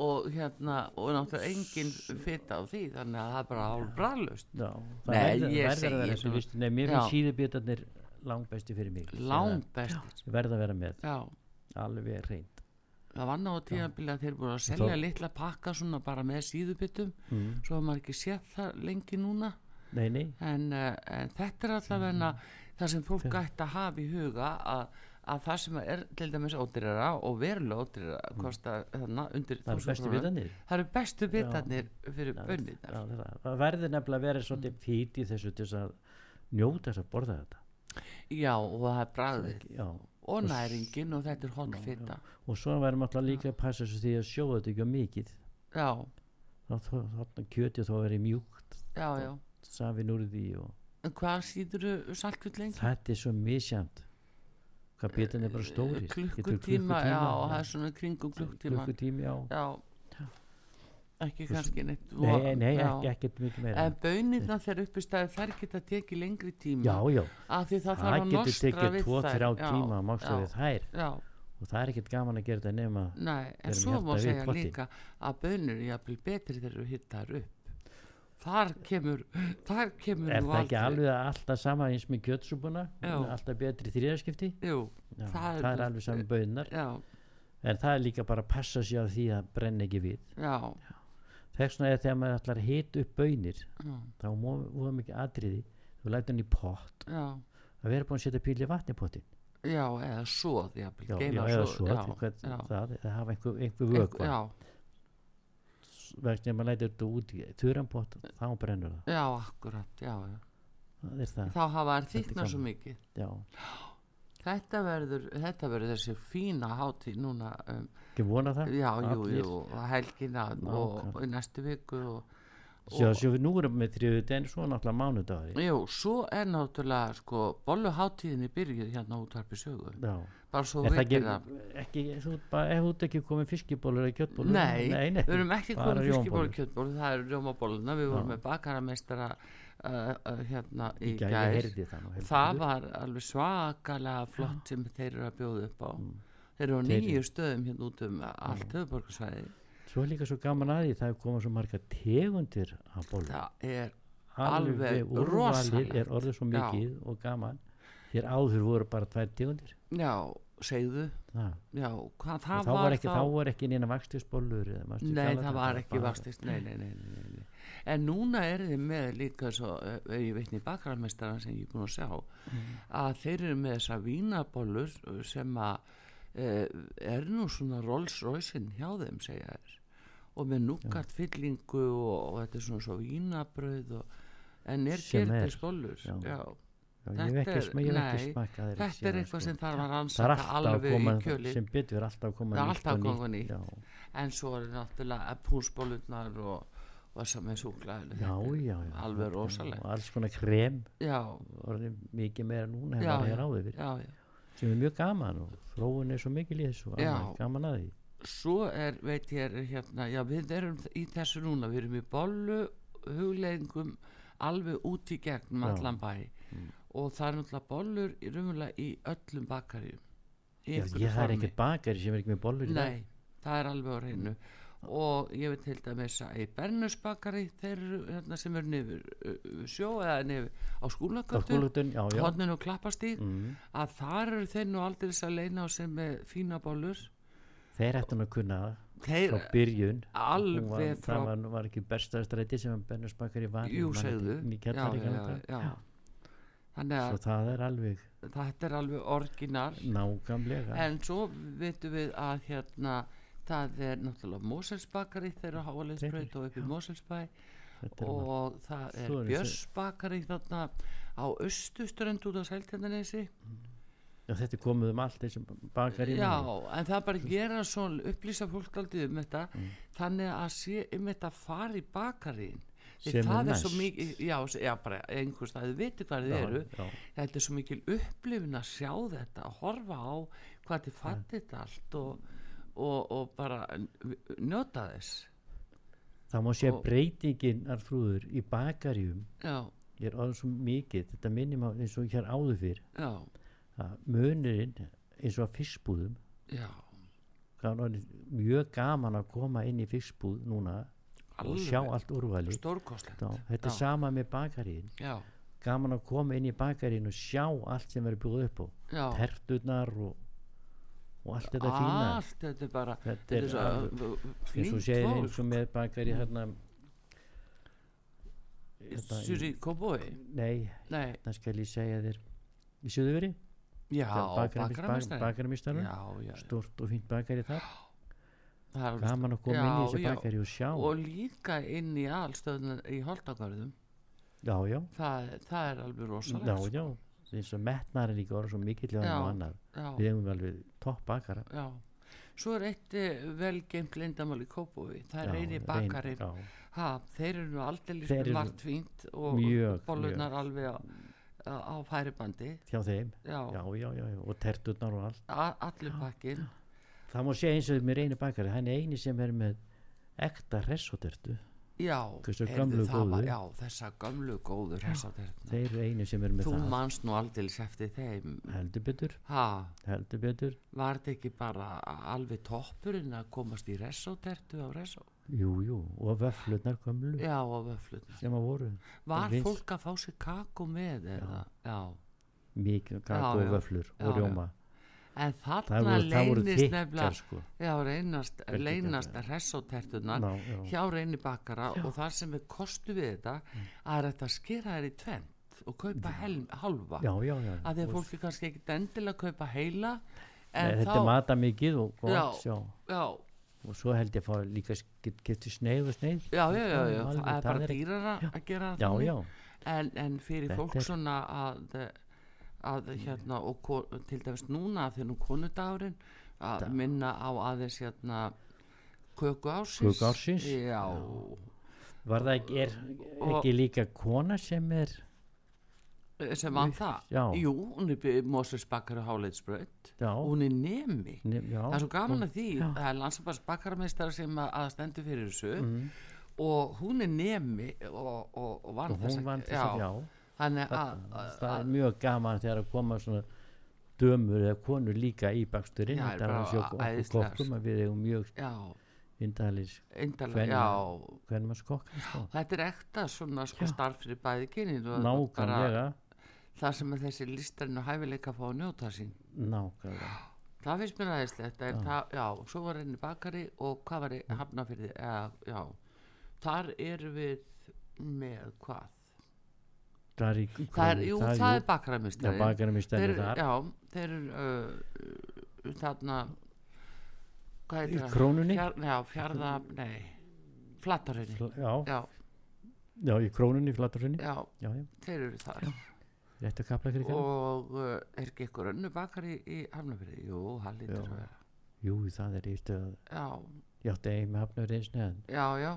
Speaker 1: og hérna og náttúrulega engin fitta á því þannig að það er bara hálf brallust
Speaker 2: já,
Speaker 1: Nei,
Speaker 2: það
Speaker 1: ég
Speaker 2: verður verður að
Speaker 1: segi
Speaker 2: vera þessu
Speaker 1: svona.
Speaker 2: vistu Nei, mér finnst
Speaker 1: Já.
Speaker 2: síðubjötarnir langbæsti fyrir mig
Speaker 1: langbest
Speaker 2: Ég verð að vera með,
Speaker 1: já,
Speaker 2: alveg reynd
Speaker 1: það var náttúrulega tíðanbili að þeir voru að selja
Speaker 2: Þá-
Speaker 1: litla pakka svona bara með síðubitum
Speaker 2: mm.
Speaker 1: svo hafa maður ekki séð það lengi núna
Speaker 2: Nei, nei,
Speaker 1: en, eh, en þetta er allavega
Speaker 2: Mm.
Speaker 1: það sem fólk ætti að hafa í huga að að það sem er til dæmis ódýrara og verulega ódýrara kosta þarna undir
Speaker 2: Mm. það eru
Speaker 1: 1000
Speaker 2: bestu
Speaker 1: krónur.
Speaker 2: bitarnir
Speaker 1: Það eru bestu bitarnir fyrir
Speaker 2: Já,
Speaker 1: bönninar.
Speaker 2: já, það- Það verður nefnilega að vera svolítið fít í þessu til þess að njóta þess að borða þetta
Speaker 1: Já, og það er bragðið
Speaker 2: Já,
Speaker 1: og næringin og þetta er holfitta.
Speaker 2: og svo verðum alltaf líka að passa þessu því að sjóða þetta ekki á mikið
Speaker 1: Já,
Speaker 2: þá þarna kjötið þá verið mjúkt
Speaker 1: já, já.
Speaker 2: safin úr því og
Speaker 1: En hvað síður saltkvöldling?
Speaker 2: þetta er svo misjant hvað bitan er bara stóri
Speaker 1: Klukkutíma, já, og það er svona kringum klukkutíma.
Speaker 2: klukkutíma já.
Speaker 1: Já, ekki kannski neitt.
Speaker 2: nei,
Speaker 1: voða-
Speaker 2: nei
Speaker 1: já.
Speaker 2: ekki, ekki mikið meira
Speaker 1: En bönirna þegar uppi stæði þær geta tekið lengri tíma.
Speaker 2: já, já,
Speaker 1: Af því það þarf
Speaker 2: það
Speaker 1: að
Speaker 2: getur
Speaker 1: nostra
Speaker 2: tekið
Speaker 1: við þær.
Speaker 2: 2-3
Speaker 1: Já,
Speaker 2: tíma að másta
Speaker 1: já,
Speaker 2: við þær
Speaker 1: Já,
Speaker 2: og það er ekkert gaman að gera þetta nema
Speaker 1: Nei, en
Speaker 2: Við erum
Speaker 1: svo má
Speaker 2: hjartað hérna við
Speaker 1: segja
Speaker 2: pottinn.
Speaker 1: líka að bönur er jafnvel betri þegar þú hittar upp. Þar kemur, þar kemur
Speaker 2: er
Speaker 1: nú
Speaker 2: það ekki
Speaker 1: aldrei-
Speaker 2: alveg alltaf sama eins með kjötsúbuna
Speaker 1: Já.
Speaker 2: alltaf betri þrýðarskipti
Speaker 1: Jú,
Speaker 2: já,
Speaker 1: Það er
Speaker 2: það er
Speaker 1: nú-
Speaker 2: alveg saman bönar
Speaker 1: já,
Speaker 2: en það er líka bara að passa sér á því að brenna ekki við
Speaker 1: já,
Speaker 2: þess vegna er þegar maður ætlar að hita upp bönir
Speaker 1: já,
Speaker 2: þá móðum ekki atriði þú lætur hann í pott
Speaker 1: já,
Speaker 2: að vera búin að setja píli vatni í pottin
Speaker 1: já, eða svoð, jafnvel,
Speaker 2: já, já,
Speaker 1: geyma
Speaker 2: eða
Speaker 1: soð,
Speaker 2: svo
Speaker 1: já,
Speaker 2: til hvern,
Speaker 1: já.
Speaker 2: það, það hafa einhver, einhver
Speaker 1: Einhver-
Speaker 2: vökva
Speaker 1: já,
Speaker 2: vegna ef maður lætur þetta út í þurranpott þá brennur það,
Speaker 1: já, akkurat, já, já.
Speaker 2: það er það
Speaker 1: Þá hafa þær
Speaker 2: Þetta er
Speaker 1: þýkna svo
Speaker 2: gaman.
Speaker 1: mikið.
Speaker 2: já,
Speaker 1: Þetta verður, þetta verður þessi fína hátíð núna, um,
Speaker 2: ekki vona það
Speaker 1: já, jú,
Speaker 2: Allir.
Speaker 1: jú, og helgina og,
Speaker 2: Nákvæmlega.
Speaker 1: og í næstu viku og
Speaker 2: já, sjá við nú erum við með þriðið en svo náttúrulega mánudagari
Speaker 1: Jú, svo er náttúrulega sko bolluháttíðinni byrjuð hérna á útvarpi sögu
Speaker 2: já,
Speaker 1: bara svo
Speaker 2: er það
Speaker 1: vitið
Speaker 2: ekki,
Speaker 1: það
Speaker 2: ekki þú, ert bara, ef þú ert ekki komið fiskibólur eða kjötbólur
Speaker 1: Nei,
Speaker 2: nei, nei,
Speaker 1: við erum ekki
Speaker 2: bara
Speaker 1: komin fiskiból og
Speaker 2: rjómabollur.
Speaker 1: kjötból það eru rjómabolluna, við vorum
Speaker 2: Já.
Speaker 1: með bakaramestara uh, uh, hérna í
Speaker 2: Í gær, ég
Speaker 1: gær
Speaker 2: heyrði það nú, heyrði
Speaker 1: það
Speaker 2: það.
Speaker 1: var alveg svakalega flott sem þeir eru að bjóða upp á þeir eru á
Speaker 2: Mm. Þeir- Mm.
Speaker 1: nýju stöðum hérna út um allt höfuborgarsvæði
Speaker 2: svo er líka svo gaman að því það er komað svo marga tegundir af bólur
Speaker 1: það er, alveg rosalegt.
Speaker 2: úrvalið er orðið svo
Speaker 1: Já.
Speaker 2: mikið og gaman þér áður voru bara tvær tegundir
Speaker 1: já, segðu
Speaker 2: það
Speaker 1: já, hvað
Speaker 2: og
Speaker 1: það
Speaker 2: þá var
Speaker 1: var
Speaker 2: ekki, þá var ekki neina vakstisbólur
Speaker 1: Nei, það var ekki vastist, nei, nei, nei, nei, nei. En núna er þið með líka svo, eh, ég veitni bakramestara sem ég er búin að sjá,
Speaker 2: Mm.
Speaker 1: að þeir eru með þessa vínabollur sem að e, er nú svona Rolls Royce-in hjá þeim, segja þér. Og með núkart fyllingu og, og þetta er svona svo vínabröð og, en er
Speaker 2: Sem er,
Speaker 1: gerðis bollur, já.
Speaker 2: já. Já, ég hef
Speaker 1: Þetta
Speaker 2: ekki,
Speaker 1: er-
Speaker 2: sma, ég hef ekki
Speaker 1: nei,
Speaker 2: smakað þeirra
Speaker 1: Þetta er
Speaker 2: síðan,
Speaker 1: eitthvað
Speaker 2: sko.
Speaker 1: sem þarf að
Speaker 2: það er
Speaker 1: rannsaka
Speaker 2: alltaf að
Speaker 1: alveg
Speaker 2: koma
Speaker 1: í kjöli.
Speaker 2: sem betur er alltaf að koma
Speaker 1: Það er
Speaker 2: nýtt
Speaker 1: alltaf að
Speaker 2: og
Speaker 1: koma nýtt.
Speaker 2: já,
Speaker 1: en svo er náttúrulega púsbólunar og, og sem er súklaðileg
Speaker 2: já, já, já
Speaker 1: alveg
Speaker 2: já,
Speaker 1: rosalegt.
Speaker 2: og alls konar krem
Speaker 1: já,
Speaker 2: orðið mikið meira núna en
Speaker 1: Já,
Speaker 2: var hér áður fyrir
Speaker 1: já, já.
Speaker 2: sem er mjög gaman og þróun er svo mikil í þessu
Speaker 1: Já.
Speaker 2: annað, gaman að því
Speaker 1: svo er, veit ég er hérna já, við erum í þessu núna við erum í bollu hugleðingum alveg út í gegnum
Speaker 2: Já. Mm.
Speaker 1: allan bæ og það er náttúrulega bollur í rumulega í öllum bakarjum í
Speaker 2: já,
Speaker 1: einhverju
Speaker 2: ég það er
Speaker 1: formi.
Speaker 2: ekkert bakari sem er ekki með bollur í dag
Speaker 1: sko nei, það er alveg á reynu og ég veit til dæmis að í Bernusbakari þeir eru hérna sem eru niður uh, uh, sjó eða niður á
Speaker 2: það er
Speaker 1: skúlagötu
Speaker 2: skólutun, já, já
Speaker 1: hodnin og klappastík
Speaker 2: Mm.
Speaker 1: að þar eru þeir nú aldrei að leina á sem með fína bollur
Speaker 2: þeir ættu nú að kunna það
Speaker 1: þeir
Speaker 2: frá byrjun
Speaker 1: alveg
Speaker 2: Hún var,
Speaker 1: frá
Speaker 2: það var, var ekki besta stræti sem að Bennus Bakari var ég
Speaker 1: Jú,
Speaker 2: man
Speaker 1: segðu
Speaker 2: þetta, í
Speaker 1: já,
Speaker 2: kjallari í
Speaker 1: já,
Speaker 2: gamla daga.
Speaker 1: já. Þannig
Speaker 2: svo
Speaker 1: að
Speaker 2: það er alveg
Speaker 1: þetta er alveg orginal
Speaker 2: nágamlega
Speaker 1: En svo veitum við að hérna Það er náttúrulega Moselsbakari þeir eru á Háalegsbraut og upp í Moselsbæ
Speaker 2: Þetta er alveg-
Speaker 1: og það er
Speaker 2: Svo eru þeir-
Speaker 1: Björnsbakari þarna á austuströnd út á Seltjarnanesi
Speaker 2: Já, þetta er komið um allt þessum bakar í
Speaker 1: Já, en það er bara að gera
Speaker 2: Mm.
Speaker 1: svona upplýsa fólk aldrei um þetta þannig að sé um þetta fari í bakarín
Speaker 2: sem
Speaker 1: það
Speaker 2: er
Speaker 1: er svo
Speaker 2: næst.
Speaker 1: mikið, já, s- já bara einhvers það, þið viti hvað þið
Speaker 2: Já,
Speaker 1: eru
Speaker 2: já.
Speaker 1: þetta er svo mikil upplifun að sjá þetta að horfa á hvað þið fatti þetta allt og, og, og bara n- njóta þess
Speaker 2: Það má sé
Speaker 1: Og-
Speaker 2: breytingin arfrúður í bakarjum
Speaker 1: já,
Speaker 2: er orðin svo mikið, þetta minnum á eins og hér áður fyrr,
Speaker 1: já,
Speaker 2: að munurinn eins og að fiskbúðum,
Speaker 1: já
Speaker 2: það er orðin mjög gaman að koma inn í fiskbúð núna og sjá allt úrvali.
Speaker 1: stórkostlegt
Speaker 2: Já, þetta er
Speaker 1: Já.
Speaker 2: sama með bakarinn,
Speaker 1: já,
Speaker 2: gaman að koma inn í bakarinn og sjá allt sem verður búið upp á,
Speaker 1: já
Speaker 2: terturnar og, og allt þetta fína.
Speaker 1: allt þetta er bara
Speaker 2: Þetta
Speaker 1: þetta
Speaker 2: er
Speaker 1: er svo
Speaker 2: alveg-
Speaker 1: uh,
Speaker 2: eins og
Speaker 1: flink
Speaker 2: segir eins og
Speaker 1: fólk
Speaker 2: með bakari hérna hérna í-
Speaker 1: Suri Koboi
Speaker 2: nei,
Speaker 1: nei,
Speaker 2: það skal ég segja þér í Suðuveri
Speaker 1: já, bakaramestari
Speaker 2: bakaramistari
Speaker 1: já, já,
Speaker 2: stort og fínt bakari þar
Speaker 1: það er alveg
Speaker 2: gaman að koma
Speaker 1: Já,
Speaker 2: inn í þessi
Speaker 1: já.
Speaker 2: bakari og sjá
Speaker 1: og líka inn í allstöðunar í Holtagarðum
Speaker 2: já, já,
Speaker 1: það, það er alveg
Speaker 2: já,
Speaker 1: rosalegt
Speaker 2: já eins og metnar er líka orða svo mikill og
Speaker 1: Já.
Speaker 2: annar,
Speaker 1: já,
Speaker 2: við hefum alveg topp bakara
Speaker 1: já svo er eitt velgeimt leyndamál í Kópói það
Speaker 2: Já,
Speaker 1: er eini
Speaker 2: reyn-
Speaker 1: bakarinn
Speaker 2: já,
Speaker 1: ha, þeir eru nú aldeilis
Speaker 2: Þeir eru
Speaker 1: með margt fínt og
Speaker 2: mjög,
Speaker 1: bollunar alveg á, á á færibandi
Speaker 2: hjá þeim
Speaker 1: já,
Speaker 2: já, já, já, já, og terturnar og allt
Speaker 1: a- allur pakkin
Speaker 2: það má segja eins og með reyni bakari hann er eini sem er með ekta hressotertu
Speaker 1: já,
Speaker 2: Hversu
Speaker 1: heyrðu,
Speaker 2: gömlu
Speaker 1: það var-
Speaker 2: góðu.
Speaker 1: já, þessa gömlu góður þessa þarna.
Speaker 2: þeir eru einu sem er með
Speaker 1: þú
Speaker 2: það
Speaker 1: manst nú aldeilis eftir þeim
Speaker 2: heldur betur,
Speaker 1: ha,
Speaker 2: heldur betur
Speaker 1: var þetta ekki bara alveg toppurinn að komast í resótertu á resó
Speaker 2: jú, jú, og vöflunar gömlu
Speaker 1: já, og vöflutna
Speaker 2: sem að voru
Speaker 1: var
Speaker 2: Vins-
Speaker 1: fólk að fá sér kakó með eða, já,
Speaker 2: mikið kakó
Speaker 1: Já, já.
Speaker 2: og vöflur
Speaker 1: Já, já.
Speaker 2: og rjóma
Speaker 1: en
Speaker 2: það
Speaker 1: þarna
Speaker 2: voru, það voru
Speaker 1: leynist nefnilega
Speaker 2: þykkar sko
Speaker 1: já, reynast,
Speaker 2: Veldu
Speaker 1: leynast resótertunar
Speaker 2: Ná, já,
Speaker 1: hjá reyni bakara og það sem er kostu við þetta
Speaker 2: Mm.
Speaker 1: að er þetta að skera þær í tvent og kaupa helm, halva
Speaker 2: já, já, já.
Speaker 1: að því að
Speaker 2: Og-
Speaker 1: fólki kannski ekki endilega að kaupa heila
Speaker 2: Nei,
Speaker 1: en
Speaker 2: þetta er
Speaker 1: þá,
Speaker 2: mata mikið og
Speaker 1: Já.
Speaker 2: gott já.
Speaker 1: já,
Speaker 2: og svo held ég að fá líka getur sneið og sneið
Speaker 1: já, já, já, já,
Speaker 2: Alveg,
Speaker 1: það er bara
Speaker 2: er-
Speaker 1: dýrara að gera það
Speaker 2: já,
Speaker 1: þannig.
Speaker 2: já,
Speaker 1: en, en fyrir
Speaker 2: Þetta
Speaker 1: fólk
Speaker 2: er-
Speaker 1: svona að, að hérna og ko- til dæmis núna því nú konudagurinn að
Speaker 2: Da-
Speaker 1: minna á aðeins hérna köku ársins
Speaker 2: Köku ársins?
Speaker 1: já,
Speaker 2: var það ekki, er,
Speaker 1: Og-
Speaker 2: ekki líka kona sem er
Speaker 1: sem vann það
Speaker 2: Já.
Speaker 1: jú, hún er Moses Bakkar og Háleitsbröð
Speaker 2: já,
Speaker 1: hún er nemi
Speaker 2: ne, já,
Speaker 1: það er svo gaman að því
Speaker 2: Já.
Speaker 1: það er landsambars bakkarmeistar sem að, að stendur fyrir þessu
Speaker 2: Mm.
Speaker 1: og hún er nemi og, og, og vann
Speaker 2: og hún vann þess að já
Speaker 1: þannig að, að,
Speaker 2: það
Speaker 1: að
Speaker 2: er mjög gaman þegar að koma svona dömur eða konur líka í baksturinn
Speaker 1: Já, er
Speaker 2: þetta er
Speaker 1: bara
Speaker 2: að sjá okkur
Speaker 1: æðislega,
Speaker 2: kokkum að við eigum mjög
Speaker 1: já,
Speaker 2: indælis
Speaker 1: endalega,
Speaker 2: Kvenna.
Speaker 1: já
Speaker 2: hvernig maður skokka sko.
Speaker 1: Þetta er ekta svona sko
Speaker 2: Já.
Speaker 1: starf fyrir bæði kynin og bara
Speaker 2: nákvæmlega,
Speaker 1: það sem að þessi listarinn og hæfileika fá að njóta sín.
Speaker 2: nákvæmlega
Speaker 1: Það finnst mér aðeinslegt, en það, já, svo var henni bakari og hvað var
Speaker 2: Mm.
Speaker 1: hafna fyrir því, eða, já, þar erum við með hvað?
Speaker 2: það er, í,
Speaker 1: Það er, jú, það, er
Speaker 2: já,
Speaker 1: bakaramistari.
Speaker 2: bakarinn í
Speaker 1: þeir,
Speaker 2: stendur þar
Speaker 1: já, þeir eru uh, uh, þarna, hvað
Speaker 2: í
Speaker 1: heitir það?
Speaker 2: krónunni
Speaker 1: Fjar, já, fjarða, nei, flattarhunni.
Speaker 2: já,
Speaker 1: Já,
Speaker 2: já, í krónunni í flattursunni
Speaker 1: já,
Speaker 2: já, já,
Speaker 1: þeir eru þar.
Speaker 2: rétt að kapla krigan
Speaker 1: og uh, er ekki ykkur önnu bakari í Hafnafjörði? Jú, það lítur
Speaker 2: Já.
Speaker 1: að vera.
Speaker 2: jú, það er eitt að
Speaker 1: Já,
Speaker 2: ég átti eigin með hafnur eins neðan
Speaker 1: já, já.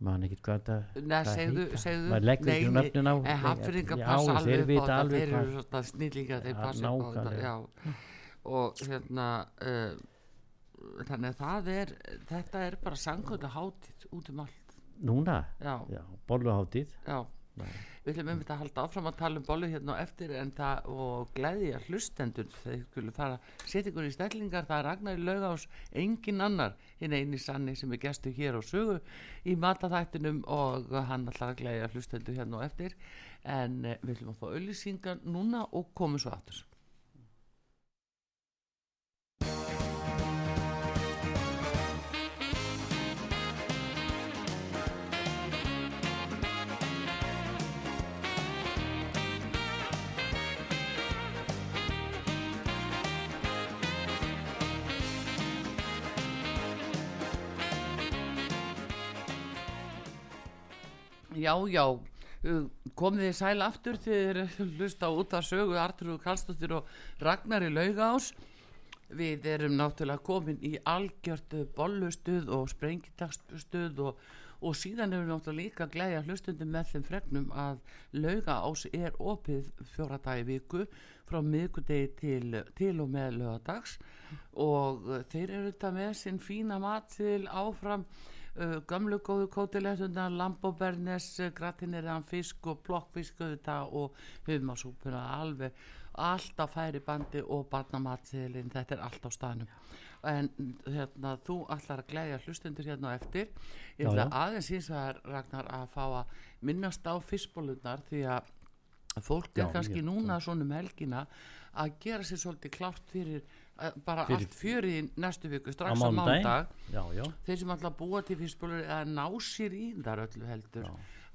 Speaker 2: mann ekkert hvað þetta
Speaker 1: Nei,
Speaker 2: hvað
Speaker 1: segðu,
Speaker 2: heita.
Speaker 1: segðu.
Speaker 2: maður leggur ekki um
Speaker 1: nei,
Speaker 2: nöfnin á
Speaker 1: nei, En hafnfyrðingar
Speaker 2: Já,
Speaker 1: passa alveg upp
Speaker 2: þeir
Speaker 1: á
Speaker 2: vita
Speaker 1: þetta,
Speaker 2: alveg
Speaker 1: þeir eru
Speaker 2: hvað-
Speaker 1: svona snillingar, þeir
Speaker 2: Ja,
Speaker 1: passa upp á þetta,
Speaker 2: nákvæmlega.
Speaker 1: já. Og hérna, uh, þannig að það er, þetta er bara sangkvölda hátíð út um allt,
Speaker 2: núna,
Speaker 1: já,
Speaker 2: já, bolluháttíð
Speaker 1: já.
Speaker 2: Já.
Speaker 1: Við ætlum einmitt að halda áfram að tala um bollu hérna og eftir en það og gleðja hlustendur þeir skulu fara setja ykkur í stellingar það er Ragnar í laugás engin annar hinn eini sanni sem er gestu hér á sögu í mataþættinum og hann ætlar að gleðja hlustendur hérna og eftir en eh, við ætlum að fá auðlýsingar núna og komum svo aftur Já, já, uh, komið þið sæl aftur þegar hlusta út að sögu Artur Kallstóttir og Ragnar í Laugás. Við erum náttúrulega komin í algjört bollustuð og sprengitagsstuð og, og síðan erum við náttúrulega líka að glæja hlustundum með þeim fregnum að laugaás er opið fjóra dag í viku frá miðgudegi til, til og með lögadags og eh, þeir eru þetta með sinn fína mat til áfram uh, gamlu góðu kótilegtundar, lambobernes, gratinirðan fisk og blokkfisk auðvitað og humasúpuna alveg alltaf færi bandi og barnamatseðilinn, þetta er allt á staðnum en hérna, þú ætlar að gleðja hlustundur hérna á eftir ég
Speaker 2: Já,
Speaker 1: ætla
Speaker 2: já.
Speaker 1: aðeins síns að Ragnar að fá að minnast á fiskbólunar því að fólk er
Speaker 2: Já,
Speaker 1: kannski
Speaker 2: ég-
Speaker 1: núna svona um helgina að gera sér svolítið klárt fyrir eh, bara
Speaker 2: Fyrir-
Speaker 1: allt fjörið í næstu viku strax á
Speaker 2: mánudaginn?
Speaker 1: mándag
Speaker 2: já, já,
Speaker 1: þeir sem alltaf búa til fiskbólur eða ná sér í þar öllu heldur
Speaker 2: Já.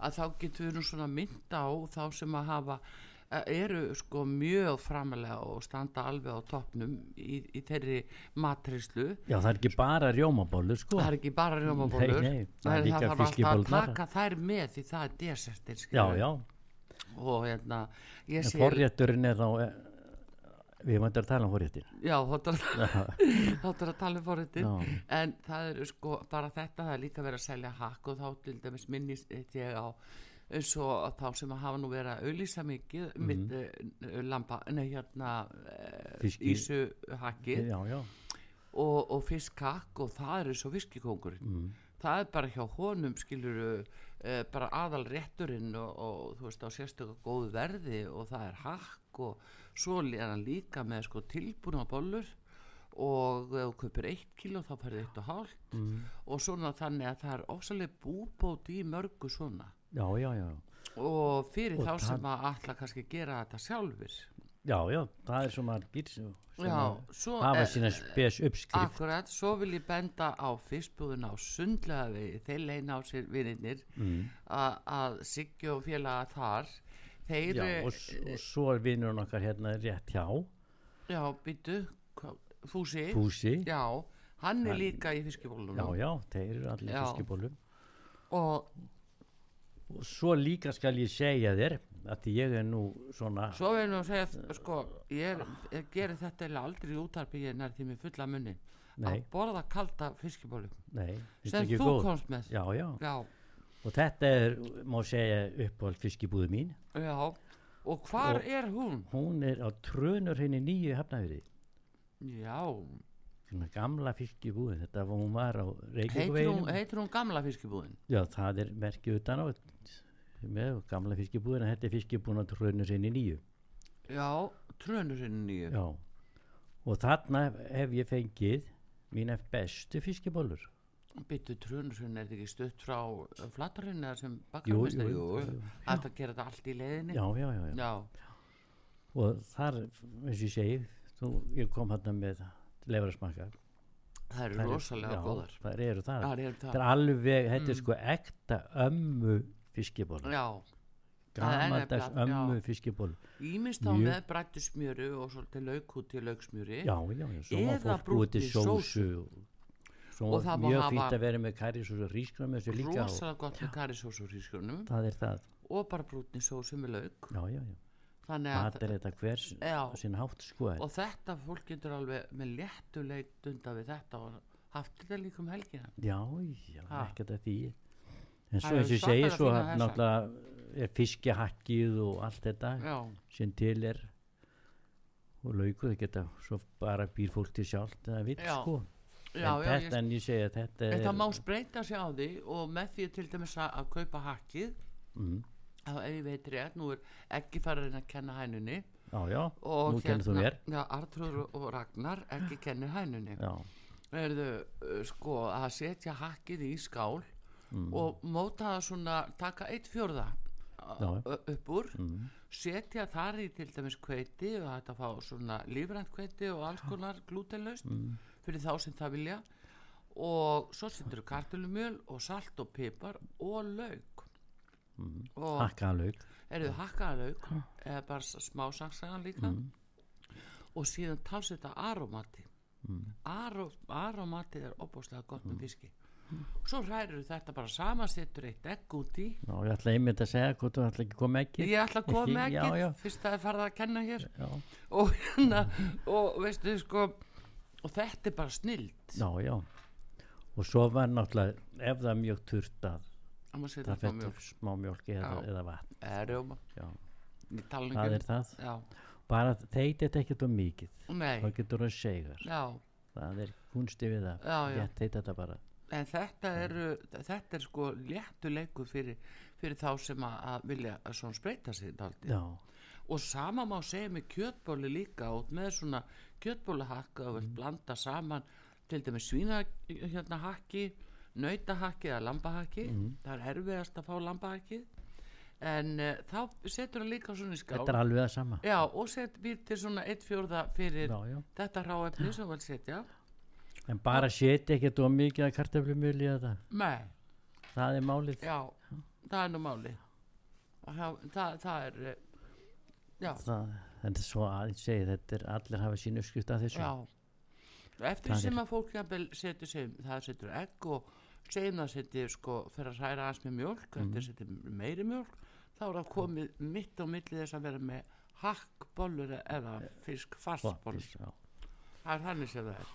Speaker 1: að þá getur við nú svona mynda á þá sem að hafa eh, eru sko mjög framalega og standa alveg á toppnum í, í þeirri matrislu
Speaker 2: já, það er ekki bara rjómabólur sko
Speaker 1: það er ekki bara rjómabólur
Speaker 2: Nei, nei, það
Speaker 1: það er
Speaker 2: er
Speaker 1: það
Speaker 2: líka
Speaker 1: þarf alltaf að
Speaker 2: fiskibólurnar.
Speaker 1: taka þær með því það er desertir
Speaker 2: já, já,
Speaker 1: og hérna ég
Speaker 2: en
Speaker 1: sé
Speaker 2: forrétturinn er þá eh, við erum eftir að tala um forréttin
Speaker 1: já, þá (laughs) þáttur að tala um forréttin
Speaker 2: Já.
Speaker 1: en það eru sko bara þetta það er líka verið að selja hakk og þá til dæmis minnist ég á eins og þá sem að hafa nú verið að auðlýsa mikið
Speaker 2: Mhm.
Speaker 1: mitt uh, lampa, nei hérna uh,
Speaker 2: Fiski-
Speaker 1: ísuhakki
Speaker 2: já, já,
Speaker 1: og, og fiskhakk og það er eins og viskikongurinn
Speaker 2: Mm.
Speaker 1: það er bara hjá honum skilur uh, bara aðal rétturinn og, og þú veist á sérstöku góðu verði og það er hakk og svo er hann líka með sko tilbúna bollur og ef þú kaupir eitt kíló þá færði eitt og hálft
Speaker 2: Mm.
Speaker 1: og svona þannig að það er ósalega búbót í mörgu svona
Speaker 2: já, já, já
Speaker 1: og fyrir
Speaker 2: Og
Speaker 1: þá
Speaker 2: það-
Speaker 1: sem að alltaf kannski gera þetta sjálfur
Speaker 2: já, já, það er svo margir sem sem
Speaker 1: Já,
Speaker 2: að
Speaker 1: svo
Speaker 2: hafa
Speaker 1: er-
Speaker 2: sína spes uppskrift
Speaker 1: Akkurat, svo vil ég benda á fyrstbúðun á sundlega vegi, þeir leina á sér vinirnir mm. að Siggi og félaga þar, þeir, eh,
Speaker 2: já,
Speaker 1: já,
Speaker 2: og, s- og svo er vinnurinn okkar hérna rétt hjá,
Speaker 1: já býtu, Fúsi,
Speaker 2: Púsi já,
Speaker 1: já, hann er líka í fiskibólunum
Speaker 2: já, þeir eru allir
Speaker 1: Já.
Speaker 2: fiskibólum
Speaker 1: og
Speaker 2: og svo líka skal ég segja þér að því ég er nú svona
Speaker 1: svo vil ég nú segja, sko, ég, er, ég gerir þetta eiginlega aldrei í útarpi, ég er nær því með fulla munni, að
Speaker 2: Nei.
Speaker 1: borða kalda fiskibólum,
Speaker 2: nei, finnst
Speaker 1: sem
Speaker 2: ekki
Speaker 1: þú
Speaker 2: góð?
Speaker 1: komst með,
Speaker 2: já, já,
Speaker 1: já,
Speaker 2: og þetta er, má segja uppáhald fiskibúðu mín
Speaker 1: já. og hvar
Speaker 2: Og-
Speaker 1: er hún?
Speaker 2: hún er á trönur henni nýju hafnafyrði
Speaker 1: Já,
Speaker 2: svona gamla fiskibúðu þetta var hún var á
Speaker 1: heitir hún,
Speaker 2: Reykjavíkveginum
Speaker 1: heitir hún gamla fiskibúðin?
Speaker 2: já, það er merkið utan á með gamla fiskibúðina, þetta er fiskibúðin á trönur henni nýju
Speaker 1: Já, trönurinn nýju.
Speaker 2: já, og þarna hef ég fengið mína bestu fiskibólur
Speaker 1: Byttu trönurinn, er þetta ekki stutt frá flattarinn eða sem
Speaker 2: Jú,
Speaker 1: bakkarmistar?
Speaker 2: jú,
Speaker 1: Jú,
Speaker 2: jú.
Speaker 1: Þetta gera þetta allt í leiðinni?
Speaker 2: já, já, já, já.
Speaker 1: Já,
Speaker 2: og þar, eins og ég segi þú, ég kom hérna með lefarasmakka
Speaker 1: það eru rosalega góðar.
Speaker 2: það eru það,
Speaker 1: Það er
Speaker 2: þetta
Speaker 1: það.
Speaker 2: er alveg, þetta er sko ekta ömmu fiskibólur
Speaker 1: Mm. Já, það er
Speaker 2: gamaldags
Speaker 1: nefnilega,
Speaker 2: ömmu
Speaker 1: já.
Speaker 2: fiskibólur
Speaker 1: ímist þá
Speaker 2: Mjög-
Speaker 1: með brættu smjöru og svolítið laukhúti lauksmjöri.
Speaker 2: já, já, já, svo má
Speaker 1: Eða
Speaker 2: fólk búið til
Speaker 1: brúnni
Speaker 2: sósu og- svo
Speaker 1: Og það má
Speaker 2: mjög
Speaker 1: hafa-
Speaker 2: fínt að vera með kærisósu rískram þessu líka og
Speaker 1: Rosalega gott með karisós og rískjörnum
Speaker 2: það er það,
Speaker 1: og bara brútni sósu með lauk.
Speaker 2: já, já, já
Speaker 1: Þannig að,
Speaker 2: það er þetta hvers
Speaker 1: Já.
Speaker 2: á sinn hátt sko en-
Speaker 1: Eh, og þetta fólk getur alveg með léttu leitt undan við þetta og haft þetta líka um helgina.
Speaker 2: já, já,
Speaker 1: Ha.
Speaker 2: ekkert að því en
Speaker 1: Það
Speaker 2: svo eins og
Speaker 1: eru
Speaker 2: ég segi
Speaker 1: svakalega
Speaker 2: svo
Speaker 1: fínar þessar.
Speaker 2: náttúrulega er fiskihakkið og allt þetta
Speaker 1: Já,
Speaker 2: sem til er og lauku það geta svo bara býr fólk til sjálft það vill
Speaker 1: Já,
Speaker 2: sko
Speaker 1: já,
Speaker 2: en
Speaker 1: já. ég
Speaker 2: þetta en ég segja þetta
Speaker 1: En
Speaker 2: er
Speaker 1: það má spreita sig á því og með því til dæmis að, að kaupa hakkið
Speaker 2: mm,
Speaker 1: þá ef ég veit rétt, nú er ekki farin að kenna hænunni
Speaker 2: já já,
Speaker 1: og hérna,
Speaker 2: nú kennir þú mér
Speaker 1: Já, Artrúður og Ragnar ekki kennir hænunni
Speaker 2: já,
Speaker 1: Erðu, uh, sko, að setja hakkið í skál
Speaker 2: Mm.
Speaker 1: og móta það svona, taka eitt fjórða uh,
Speaker 2: Já.
Speaker 1: ö- upp úr
Speaker 2: mm,
Speaker 1: setja þar í til dæmis kveiti og þetta fá svona lífrænt kveiti og alls konar glútenlaust
Speaker 2: Mm.
Speaker 1: fyrir þá sem það vilja og svo setur þú kartulumjöl og salt og pipar og lauk
Speaker 2: Mm.
Speaker 1: og
Speaker 2: hakkaðan lauk
Speaker 1: eru þau hakkaða lauk eða bara s- smá saksagan líka
Speaker 2: Mm.
Speaker 1: og síðan tals þetta aromati
Speaker 2: Mm.
Speaker 1: Aró, aromati er opbóðslega gott með fiski og svo hrærir þetta bara saman setur eitt egg út í
Speaker 2: já, ég ætla einmitt að segja hvort þú ætla ekki að koma ekki
Speaker 1: ég ætla að koma með
Speaker 2: Já,
Speaker 1: ekkert
Speaker 2: já.
Speaker 1: fyrst að það er farið að kenna hér
Speaker 2: já,
Speaker 1: og hérna og veistu sko og þetta er bara snild
Speaker 2: já, já og svo var náttúrulega ef það er mjög turt að
Speaker 1: Það má setja
Speaker 2: það
Speaker 1: smá
Speaker 2: fettur
Speaker 1: mjólk.
Speaker 2: smá mjólk eða,
Speaker 1: Já.
Speaker 2: eða vatn
Speaker 1: Eða rjóma.
Speaker 2: já.
Speaker 1: Ég tala nú ekki
Speaker 2: það
Speaker 1: um
Speaker 2: er það
Speaker 1: Já.
Speaker 2: bara þeit þetta ekkert um mikið þá
Speaker 1: Nei.
Speaker 2: getur það segur
Speaker 1: Já.
Speaker 2: það er kunsti við það
Speaker 1: Já, já.
Speaker 2: rétt þeit þetta bara
Speaker 1: En þetta er, þetta er sko léttu leikur fyrir, fyrir þá sem að, að vilja að svona spreita sig daldi.
Speaker 2: já,
Speaker 1: Og sama má segja með kjötbóli líka út með svona kjötbólahakka og vilt
Speaker 2: Mhm.
Speaker 1: blanda saman til dæmis svínahakki, hérna, hakki, nautahakki eða lambahakki.
Speaker 2: Mhm.
Speaker 1: Það er erfiðast að fá lambahakkið. En uh, þá setur hann líka svona í skál.
Speaker 2: þetta er alveg það sama
Speaker 1: Já, og set býr til svona eitt fjórða fyrir
Speaker 2: já, já.
Speaker 1: þetta ráefni sem vel setja.
Speaker 2: en bara setja ekkert um mikið að kartaflumjöli það.
Speaker 1: Nei,
Speaker 2: það er málið
Speaker 1: já, það er nú máli. Það, það, það er, eh, já,
Speaker 2: það, en svo að ég segi þetta er allir hafa sín uppskrift að þessu
Speaker 1: já. Eftir
Speaker 2: Það
Speaker 1: sem
Speaker 2: er-
Speaker 1: að fólk jafnvel setur sem, það setur egg og segjum það setja sko fyrir að hræra aðeins með mjólk,
Speaker 2: Mhm.
Speaker 1: eftir að setja meiri mjólk, þá er það komið mitt og milli þess að vera með hakkbollur eða
Speaker 2: Eh,
Speaker 1: fisk fastbollur.
Speaker 2: Þvottis, já.
Speaker 1: Það er þannig sem það er.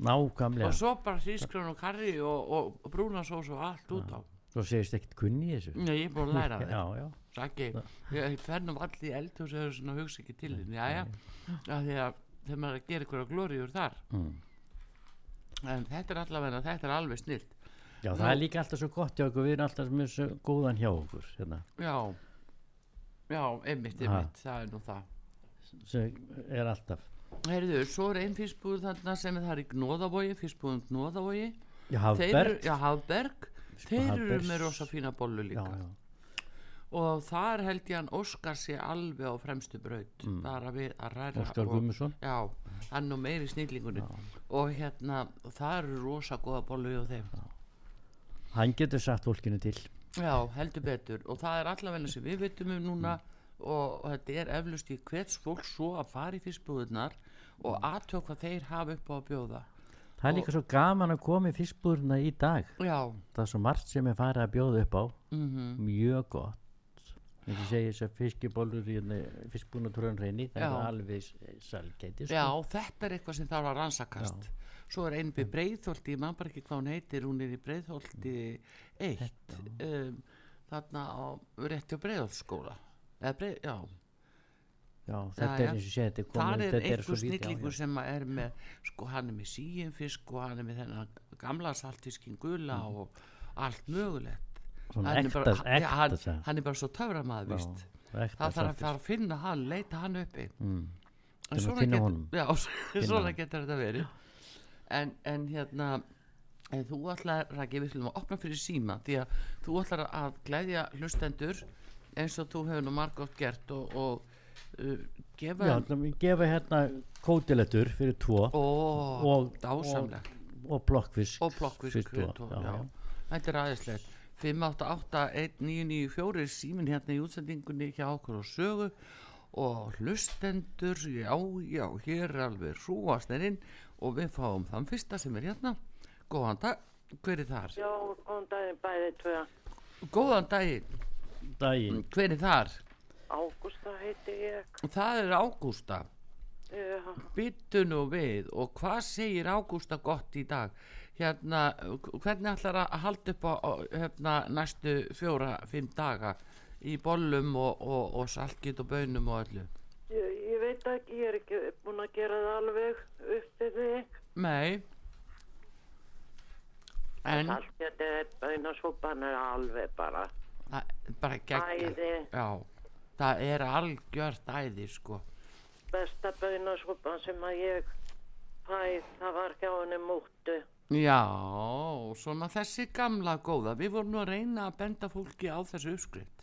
Speaker 2: nákvæmlega
Speaker 1: Og svo bara sískrán og karri og, og, og brúnasós og allt út á.
Speaker 2: svo segist ekkert kunni í þessu
Speaker 1: Nei, ég er búin að Mm,
Speaker 2: (laughs)
Speaker 1: læra það.
Speaker 2: já, já,
Speaker 1: Saki, ég fer nú allir í eldhús eða svona hugsa ekki til þín, jæja, af því að þegar maður er að gera ykkur á glóriur þar.
Speaker 2: Mm.
Speaker 1: En þetta er allavega, þetta er alveg snilt.
Speaker 2: já það
Speaker 1: Nú-
Speaker 2: er líka alltaf svo gott hjá okkur við erum alltaf með svo góðan hjá okkur hérna.
Speaker 1: Já, já, einmitt,
Speaker 2: Ha.
Speaker 1: einmitt, það er nú það.
Speaker 2: sem er alltaf
Speaker 1: Heyrðu, svo er einn fyrstbúð þarna sem er þar í Gnóðavogi, fyrstbúðum Gnóðavogi.
Speaker 2: já,
Speaker 1: Þeir eru,
Speaker 2: Hafberg
Speaker 1: já, Hafberg, þeir eru
Speaker 2: Hafbergs.
Speaker 1: með rosa fína bollu
Speaker 2: já,
Speaker 1: líka.
Speaker 2: já,
Speaker 1: Og þar held ég hann Óskar sé alveg á fremstu braut, bara við að ræra
Speaker 2: Mm. Óskar
Speaker 1: og
Speaker 2: Guðmusson
Speaker 1: Já, hann nú meiri snillingunni og hérna, það eru rosa góða bollu hjá þeim.
Speaker 2: hann getur sagt fólkinu til
Speaker 1: Já, heldur betur og það er allavegna sem við veitum um núna og, og þetta er eflust í hvers fólk svo að fara í fyrstbúðunar og aðtjók hvað þeir hafa upp á að bjóða.
Speaker 2: það er líka svo gaman að koma í fiskbúruna í dag
Speaker 1: Já,
Speaker 2: það er svo margt sem er farið að bjóða upp á
Speaker 1: mm
Speaker 2: mjög gott eins og segja þess að fiskibólur fiskbúruna trúan reyni
Speaker 1: Já.
Speaker 2: það hérna, er alveg sælgæti
Speaker 1: já, þetta er eitthvað sem þarf að rannsakast. Svo er einn við Breiðholti, ég man bara ekki hvað hún heitir, hún er í Breiðholti 1, um, þarna á rétti á Breiðholtskóla. Eða Breið, já,
Speaker 2: Já, þetta
Speaker 1: Já,
Speaker 2: er
Speaker 1: já.
Speaker 2: eins og segja, þetta er
Speaker 1: Það
Speaker 2: komið,
Speaker 1: er
Speaker 2: þetta er svo
Speaker 1: einhver
Speaker 2: vítt, já,
Speaker 1: snillingur sem að er með, sko hann er með síinfisk og hann er með þennan gamla saltfiskin gula og allt mögulegt.
Speaker 2: já, svona
Speaker 1: Hann er bara-
Speaker 2: Mm. ekta,
Speaker 1: hann- hann,
Speaker 2: ekta sæl.
Speaker 1: hann er bara svo töframaður, víst. Það þarf að fara að finna hann, leita hann uppi.
Speaker 2: Mm.
Speaker 1: En
Speaker 2: Þurfum að
Speaker 1: svona
Speaker 2: finna
Speaker 1: getur-
Speaker 2: honum.
Speaker 1: Já, (laughs) svona
Speaker 2: hann.
Speaker 1: getur þetta verið. En, en hérna, en þú ætlar, Raki, við ætlum að opna fyrir síma því að þú ætlar að glæðja hlustendur eins og þú hefur nú margótt gert og, og uh, gefa
Speaker 2: Já, ætlum við að gefa hérna kótilettur fyrir tvo
Speaker 1: Ó,
Speaker 2: og, og,
Speaker 1: dásamlegt.
Speaker 2: og blokkfisk
Speaker 1: og plokkfisk
Speaker 2: fyrir
Speaker 1: kjöt
Speaker 2: tvo,
Speaker 1: og, já. þetta er aðeinslegt 5881994 síminn hérna í útsendingunni hjá okkur og sögu og hlustendur já, já, hér er alveg hrúast erinn og við fáum þann fyrsta sem er hérna góðan dag, hver er þar?
Speaker 3: Já, góðan daginn bæði tvö.
Speaker 1: góðan daginn,
Speaker 2: Daginn,
Speaker 1: hver er þar?
Speaker 3: Ágústa heiti ég.
Speaker 1: það er Ágústa
Speaker 3: Já,
Speaker 1: byttu nú við og hvað segir Ágústa gott í dag hérna, h- hvernig ætlar að halda upp á á, hérna, næstu fjóra, fimm daga í bollum og, og, og salkit og bönum og öllu
Speaker 3: ég, ég veit ekki, ég er ekki búin að gera það alveg upp til þig.
Speaker 1: nei en
Speaker 3: Allt þetta er bæna svopan er alveg bara.
Speaker 1: það, bara gegn
Speaker 3: Æði,
Speaker 1: já, það er algjört æði sko,
Speaker 3: besta bæna svopan sem að ég fæ, það var hjá henni múttu.
Speaker 1: já svona þessi gamla góða við vorum nú að reyna að benda fólki á þessu uppskrift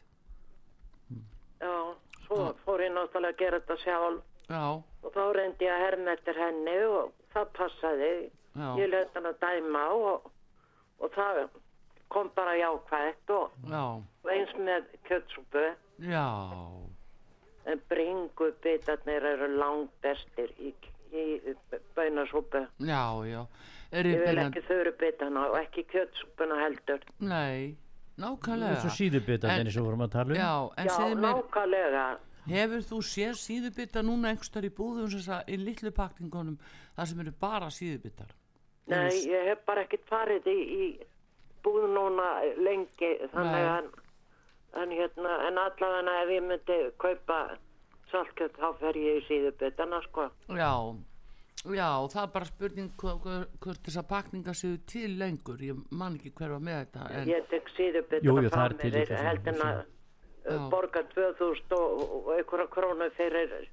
Speaker 3: Já, svo fór ég náttúrulega að gera þetta sjálf
Speaker 1: já,
Speaker 3: og þá reyndi ég að herma eftir henni og það passaði.
Speaker 1: já,
Speaker 3: Ég löt hann að dæma og, og það kom bara jákvætt og
Speaker 1: já
Speaker 3: og eins með kjötsúpu
Speaker 1: já
Speaker 3: en bringu bitarnir eru langbestir í, í bænasúpu
Speaker 1: Já, já.
Speaker 3: ég vil
Speaker 1: Ribbina,
Speaker 3: ekki þurru bitana og ekki kjötsúpuna heldur
Speaker 1: nei, nákvæmlega.
Speaker 2: svo síðubitan
Speaker 1: En-
Speaker 2: eins og vorum að tala um
Speaker 1: Já, en
Speaker 3: já,
Speaker 1: segðu mér,
Speaker 3: nákvæmlega
Speaker 1: hefur þú séð síðubita núna einhverstar í búðum sem það í litlu pakningunum, það sem eru bara síðubitar?
Speaker 3: nei, ég hef bara ekkert farið í, í búð núna lengi þannig
Speaker 1: Nei.
Speaker 3: að en, hérna, en allavega ef ég myndi kaupa saltkjöld þá fer ég í síðubitana sko
Speaker 1: já, já, það er bara spurning hva- hva- hvort þessar pakningar séu til lengur, ég man ekki hver var með þetta en,
Speaker 3: ég tek
Speaker 2: Jú, jú,
Speaker 3: síðubitana
Speaker 2: það er til líka
Speaker 3: fyrir heldin að
Speaker 2: síðubitana.
Speaker 3: uh,
Speaker 1: Já.
Speaker 3: borga 2000 og, og einhverja krónu fyrir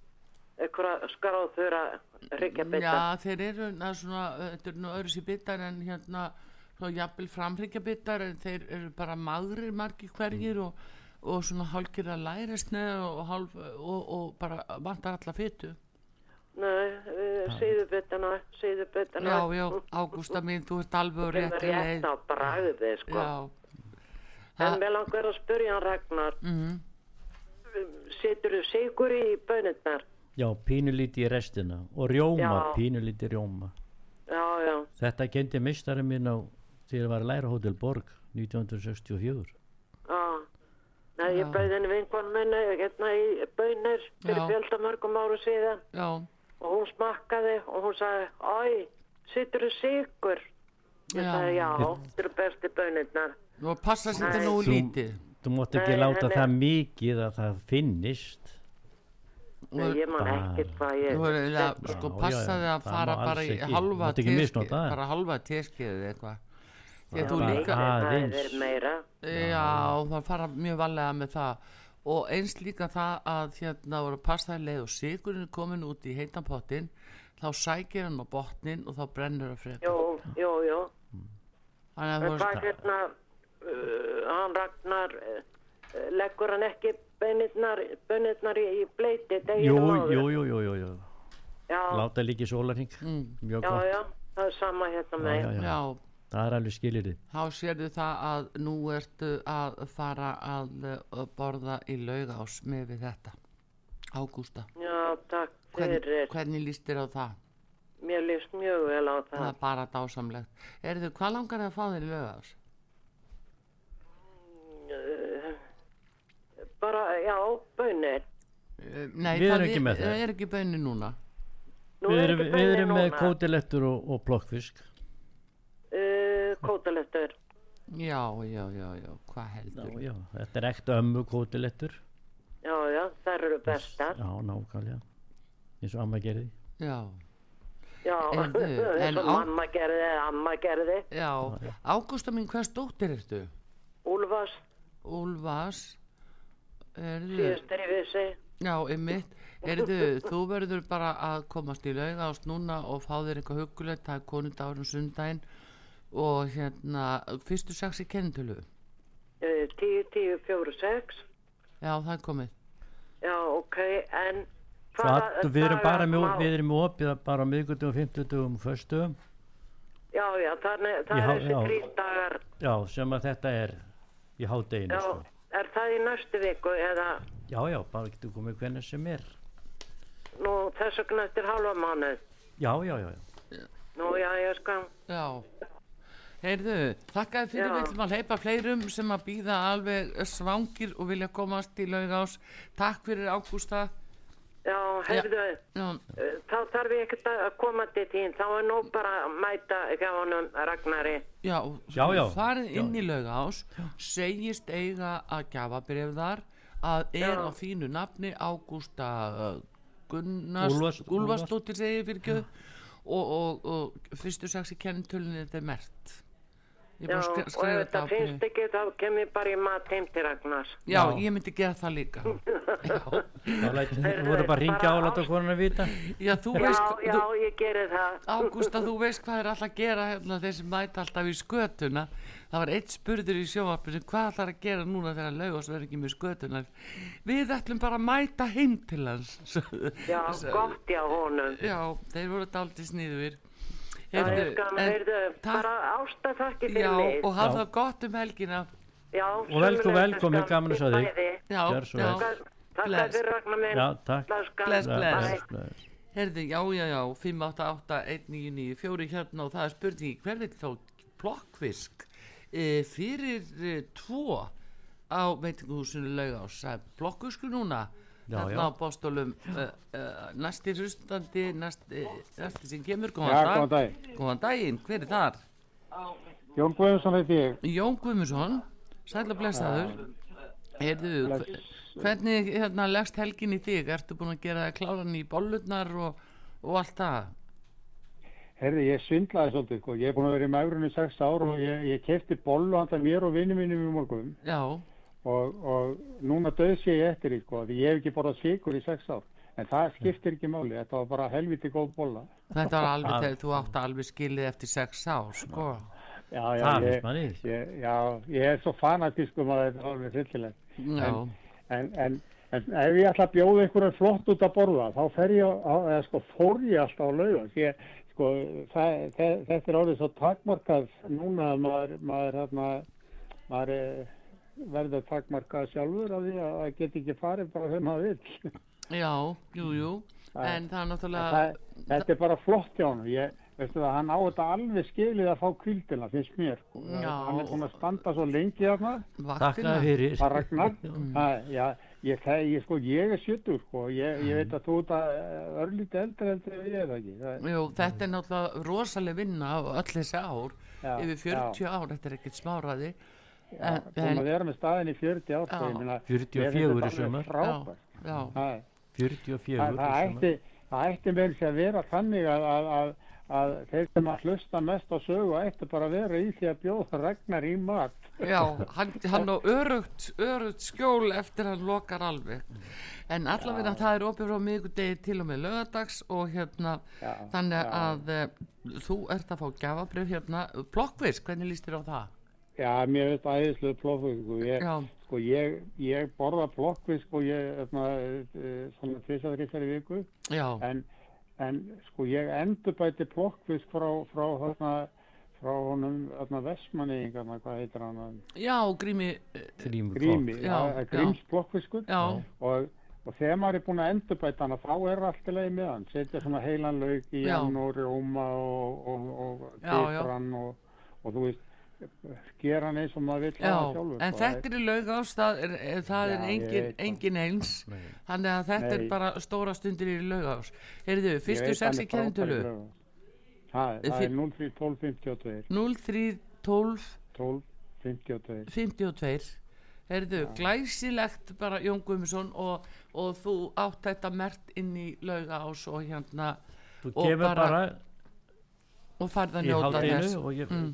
Speaker 3: einhverja skráðþura hryggjabita
Speaker 1: Já, þeir eru na, svona, uh, þetta eru nú öðru sér bitar en hérna, þá jafnvel framhryggja bitar en þeir eru bara magrir margir
Speaker 3: Mm.
Speaker 1: hverjir og, og svona hálkir að lærisni og, hálf, og, og bara vantar alla fytu.
Speaker 3: Nei, eh, síðubitana síðubitana
Speaker 1: Já, já, Ágústa mín, þú ert alveg á
Speaker 3: Rétt,
Speaker 1: réttri
Speaker 3: rétt
Speaker 1: leið.
Speaker 3: á bragði sko
Speaker 1: Já,
Speaker 3: En
Speaker 1: það,
Speaker 3: mér langar að spyrja hann Ragnar,
Speaker 1: mm,
Speaker 3: setur þú sigur í bönirnar?
Speaker 2: Já, pínulíti í restina og rjóma,
Speaker 3: Já.
Speaker 2: pínulíti rjóma.
Speaker 3: Já, já,
Speaker 2: Þetta kendi mistari mín á þegar ég var að læra á Hótel Borg 1964.
Speaker 3: já. Nei,
Speaker 1: Já.
Speaker 3: ég bauði henni vinkonu minni hérna í bönir fyrir
Speaker 1: Já.
Speaker 3: fjöldamörgum áru síðan
Speaker 1: já,
Speaker 3: og hún smakkaði og hún sagði, æ, setur þú sigur? Ég
Speaker 1: Já.
Speaker 3: sagði, já, þetta eru bestu bönirnar.
Speaker 1: og passa sér þetta
Speaker 3: Nei.
Speaker 1: nú
Speaker 2: Þú-
Speaker 1: lítið.
Speaker 2: Þú mátt ekki
Speaker 3: Nei,
Speaker 2: láta
Speaker 3: hann er-
Speaker 2: það mikið að það finnist.
Speaker 3: Nei, ég man
Speaker 2: Bara-
Speaker 3: ekki hvað ég...
Speaker 1: Þú verður eiginlega, sko,
Speaker 2: Já, já,
Speaker 1: passaði
Speaker 2: já,
Speaker 1: að
Speaker 2: það
Speaker 1: fara
Speaker 2: má
Speaker 1: bara
Speaker 2: alls
Speaker 1: í
Speaker 2: ekki.
Speaker 1: halva
Speaker 2: Mátt ekki
Speaker 1: teskið,
Speaker 2: misnota það.
Speaker 1: bara halva teskið eða eitthvað. Því að
Speaker 2: Já,
Speaker 1: þú
Speaker 2: bara-
Speaker 1: líka,
Speaker 2: aðeins.
Speaker 3: Það er meira.
Speaker 1: Já, það fara mjög valega með það og eins líka það að hérna voru pastaðileg og sigurinn er komin út í heitan pottin þá sækir hann á botnin og þá brennur það frekar.
Speaker 3: Jú, jú, jú.
Speaker 1: Þannig að
Speaker 3: En
Speaker 1: þú
Speaker 3: hvað
Speaker 1: veist,
Speaker 3: hérna, uh, hann Ragnar, uh, uh, leggur hann ekki bönirnar, bönirnar í, í bleiti
Speaker 2: Jú,
Speaker 3: deginum
Speaker 2: jú,
Speaker 3: áður?
Speaker 2: jú, jú, jú, jú.
Speaker 3: Já,
Speaker 2: Láta líki sólarhing. Mm. Mjög
Speaker 3: já,
Speaker 2: gott.
Speaker 3: já, það er sama hérna með.
Speaker 2: já, já.
Speaker 1: já,
Speaker 2: Það er alveg skilir þið.
Speaker 1: þá sérðu það að nú ertu að fara að uh, borða í laugás með við þetta. Ágústa,
Speaker 3: Já, takk
Speaker 1: hvern,
Speaker 3: fyrir.
Speaker 1: hvernig líst þér á það?
Speaker 3: Mér líst mjög vel á
Speaker 1: Það
Speaker 3: það.
Speaker 1: er bara dásamlegt. Erðu, hvað langar þið að fá þér í laugás?
Speaker 3: Eh, Bara, já, bönir.
Speaker 1: Uh, Nei,
Speaker 2: Við
Speaker 1: það
Speaker 2: erum ekki með það.
Speaker 1: það er ekki bönni núna.
Speaker 3: Nú
Speaker 2: Við
Speaker 3: er
Speaker 2: erum,
Speaker 3: ekki
Speaker 2: við
Speaker 3: bönir
Speaker 2: erum með
Speaker 3: núna.
Speaker 2: kótilettur og, og plokkfisk.
Speaker 3: Uh, kótalettur.
Speaker 1: Já, já, já, já, hvað heldur?
Speaker 2: Já, já, þetta er ekta ömmu kótilettur.
Speaker 3: Já, já, þær eru bestar.
Speaker 2: Já, nákvæmlega. Eins og amma gerði.
Speaker 1: Já,
Speaker 3: Já,
Speaker 1: En þú, en
Speaker 3: (laughs) eins og
Speaker 1: á-
Speaker 3: mamma gerði, eða amma gerði.
Speaker 1: já, Ágústa mín, hvers dóttir ertu?
Speaker 3: Úlfars,
Speaker 1: Úlfas, erðu,
Speaker 3: síðustur í vissi.
Speaker 1: já, einmitt, erðu, þú verður bara að komast í laugast núna og fá þér eitthvað hugulegt, það er konundárun sundaginn og hérna, fyrstu sex í kennitölu,
Speaker 3: Uh, 10, 10, 4, 6.
Speaker 1: já, það er komið.
Speaker 3: Já, ok, en
Speaker 2: Svo að, við erum
Speaker 3: daga
Speaker 2: bara með,
Speaker 3: má-
Speaker 2: við erum með opið bara á miðgutum og fimmtutum og föstum.
Speaker 3: Já, já, þannig, það
Speaker 2: Í
Speaker 3: er
Speaker 2: há-
Speaker 3: þessi
Speaker 2: já.
Speaker 3: þrýr dagar
Speaker 2: Já, sem að þetta er í hádeginu.
Speaker 3: Já,
Speaker 2: sko.
Speaker 3: er það í næstu viku eða
Speaker 2: Já, já, bara getur komið hvernig sem er.
Speaker 3: nú þess vegna eftir halva mánuð
Speaker 2: Já, já, já, já.
Speaker 3: Nú, já, ég skal
Speaker 1: Já. Heyrðu, þakkaði fyrir
Speaker 3: Já.
Speaker 1: við ætlum að hleypa fleirum sem að býða alveg svangir og vilja komast í laugás. Takk fyrir Ágústa.
Speaker 3: Já, heyrðu,
Speaker 1: Já,
Speaker 3: uh, þá þarf ég ekkert að koma til þín þá er nú bara að mæta hjá honum Ragnari
Speaker 1: Já,
Speaker 2: Já, já.
Speaker 1: farið
Speaker 2: Já,
Speaker 1: inn í laugás, segist eiga að gjafabref þar að er
Speaker 3: Já.
Speaker 1: á þínu nafni Ágústa uh, Gunnars,
Speaker 2: Úlfars-
Speaker 1: Úlfarsdóttir segi ég fyrir gjöð og, og, og fyrstu sex í kennitölinni þetta er mert. Ég er búin
Speaker 3: Já,
Speaker 1: að
Speaker 3: og
Speaker 1: skri-
Speaker 3: ef
Speaker 1: skrifa þetta
Speaker 3: þetta
Speaker 1: á bréfið.
Speaker 3: finnst ekki þá kem ég bara í mat heim til Ragnars
Speaker 1: Já,
Speaker 2: Já.
Speaker 1: ég myndi gera það líka.
Speaker 3: (laughs)
Speaker 1: já.
Speaker 2: Þá lætum við vorum bara að ringja
Speaker 3: bara
Speaker 2: álæta
Speaker 3: ást-
Speaker 2: hvornan að vita.
Speaker 1: já, þú
Speaker 3: Já,
Speaker 1: veist,
Speaker 3: já,
Speaker 1: þú, Ah.
Speaker 3: ég geri það
Speaker 1: Ágústa, þú veist hvað er alltaf að gera hérna, þeir sem mæta alltaf í skötuna það var eitt spurður í sjóvarpinu hvað ætlar að gera núna þegar Laugos verður ekki með skötuna við ætlum bara að mæta heim til hans (laughs) sögðu-
Speaker 3: Já,
Speaker 1: sögðu-
Speaker 3: gott já honum
Speaker 1: já þeir voru daldið sniður
Speaker 3: Já, ég skal, heyrðu, bara ásta þakki fyrir
Speaker 1: já,
Speaker 3: mig
Speaker 1: og hafa
Speaker 2: Já.
Speaker 1: það gott um helgina
Speaker 3: Já,
Speaker 2: Og vel- og
Speaker 3: sömuleiðis
Speaker 2: velkomin,
Speaker 3: skal
Speaker 2: gaman að sjá þig.
Speaker 3: í bæði.
Speaker 1: já,
Speaker 2: Gjörðu svo
Speaker 1: já,
Speaker 2: vel.
Speaker 3: Takk
Speaker 1: Bless.
Speaker 3: fyrir Ragnar minn.
Speaker 2: Já, takk.
Speaker 3: Bless,
Speaker 1: Bless,
Speaker 3: Garðar.
Speaker 1: bless.
Speaker 3: Bye.
Speaker 2: bless.
Speaker 1: Herði, já, já, já, 588-1994 hérna og það er spurning, hver vil þá plokkfisk e, fyrir e, tvo á veitinguhúsinu laugás, það er plokkfisku núna,
Speaker 2: Já,
Speaker 1: þarna
Speaker 2: já.
Speaker 1: á bóstólum, e, e, næsti hlustandi, næsti, e, næsti sem kemur,
Speaker 4: Já,
Speaker 1: góðan
Speaker 4: góðan
Speaker 1: dag,
Speaker 4: dag.
Speaker 1: góðan daginn, hver er þar?
Speaker 4: Jón Guðjónsson heiti ég.
Speaker 1: Jón Guðmundsson, sætla blessaður Heyrðu, hve-
Speaker 4: Bless.
Speaker 1: hvernig hérna, leggst helgin í þig? Ertu búin að gera kláran í bollutnar og, og allt það?
Speaker 4: Herði, ég svindlaði svolítið, sko. Ég er búin að vera í magrunni í sex ár og ég, ég kefti bollu handa mér og vinnu mínum í morgun
Speaker 1: Já,
Speaker 4: og, og núna döðs ég eftir því, sko, því ég hef ekki borðað sigur í sex ár. En það skiptir ekki máli, þetta var bara helviti góð bolla.
Speaker 1: þetta var alveg þegar þú átt alveg skilið eftir sex ár, sko.
Speaker 4: Já, já,
Speaker 2: það finnst
Speaker 4: ég,
Speaker 2: maður í því.
Speaker 4: ég, já, ég er svo fanatískum að þetta er alveg hryllilegt.
Speaker 1: Já,
Speaker 4: En, en, en ef ég ætla að bjóða einhverjum flott út að borða, þá fer ég, á, eða sko, fór ég alltaf á laugans. Ég, sko, það, það, þetta er orðið svo takmarkað núna að maður, maður, hérna, maður eh, verður takmarkað sjálfur af því að það get ekki farið bara þegar maður vill.
Speaker 1: já, jú, jú. En það er náttúrulega,
Speaker 4: Það, þetta er bara flott hjá hann. Ég, veistu það, hann á þetta alveg skilið að fá kvildina, finnst mér. sko.
Speaker 1: Já.
Speaker 4: Hann er búin að standa svo lengi af maður.
Speaker 2: Takka
Speaker 1: vaktina.
Speaker 2: fyrir.
Speaker 4: Það ragnar,
Speaker 1: Mm.
Speaker 4: það, Ah, já, ég, það, ég, sko, ég er sjötur, sko, ég, ég
Speaker 1: Mm.
Speaker 4: veit að þú ert að eh, örlítið eldri eldri en ég er það ekki. Það,
Speaker 1: Jú, þetta er náttúrulega rosaleg vinna á öll þessi ár,
Speaker 4: já,
Speaker 1: yfir 40 ár, þetta er ekkert smáraði.
Speaker 4: Já,
Speaker 1: en-
Speaker 4: búin
Speaker 1: en-
Speaker 4: að vera með staðin í 40 ár,
Speaker 1: Já.
Speaker 4: sko, ég meina,
Speaker 2: 44
Speaker 4: mér finnst
Speaker 2: í
Speaker 4: þetta
Speaker 2: sumar.
Speaker 4: alveg frábært.
Speaker 1: Já,
Speaker 4: Það,
Speaker 2: 44.
Speaker 4: það, það
Speaker 2: sem að-
Speaker 4: ætti, það ætti með þess að vera þannig að, að, að, að þeir sem að hlusta mest á sögu ætti bara að vera í því að bjóða ragnar í mat.
Speaker 1: já, hann, hann á örugt, örugt skjól eftir hann lokar alveg. En allavega það er opið frá miðgudegi til og með lögadags og hérna,
Speaker 4: Já,
Speaker 1: þannig
Speaker 4: já.
Speaker 1: að eh, þú ert að fá gjafabrif hérna. Blokkvist, hvernig líst þér á það?
Speaker 4: Já, mér veist æðislega plófuð, sko, ég,
Speaker 1: Já,
Speaker 4: sko, ég, ég borða plokkvið, sko, ég, þarna, eh, svona tvisaðrýsari viku.
Speaker 1: já,
Speaker 4: en, en sko ég endurbæti plokkvist frá frá þarna frá honum þarna vestmanningarna hvað heitir hann hann?
Speaker 1: já, grími, eh,
Speaker 2: Grímur
Speaker 4: Grími,
Speaker 1: Já,
Speaker 4: já,
Speaker 1: já.
Speaker 4: Gríms plokkviskur
Speaker 1: já,
Speaker 4: og, og þegar maður er búin að endurbæta hann þá er allt í lagi með hann setja svona heilan lauk í
Speaker 1: Já.
Speaker 4: hann og rjóma og, og, og, og
Speaker 1: Já, já.
Speaker 4: pipran og, og þú veist gera hann eins og maður vill
Speaker 1: já,
Speaker 4: hafa sjálfur
Speaker 1: en
Speaker 4: sko.
Speaker 1: þetta er í laugás, það er, eh, það er
Speaker 4: Já, ég
Speaker 1: engin,
Speaker 4: veit það.
Speaker 1: engin eins,
Speaker 2: Nei.
Speaker 1: þannig að þetta er
Speaker 4: Nei.
Speaker 1: bara stóra stundir í laugás. Heyrðu,
Speaker 4: Ég
Speaker 1: fyrstu
Speaker 4: veit hann
Speaker 1: sexi
Speaker 4: er frábær í
Speaker 1: kennitölu,
Speaker 4: lögum. Það það
Speaker 1: Þi-
Speaker 4: er 03 12 52
Speaker 1: 03 12
Speaker 4: 12 52
Speaker 1: 52 Herðu, glæsilegt bara Jón Guðmundsson og, og þú átt þetta mert inn í laugás og hérna
Speaker 2: Þú
Speaker 1: Og
Speaker 2: kemur
Speaker 1: bara
Speaker 2: bara
Speaker 1: og farð að
Speaker 2: í
Speaker 1: njóta þess
Speaker 2: hátinu og ég,
Speaker 1: Mm.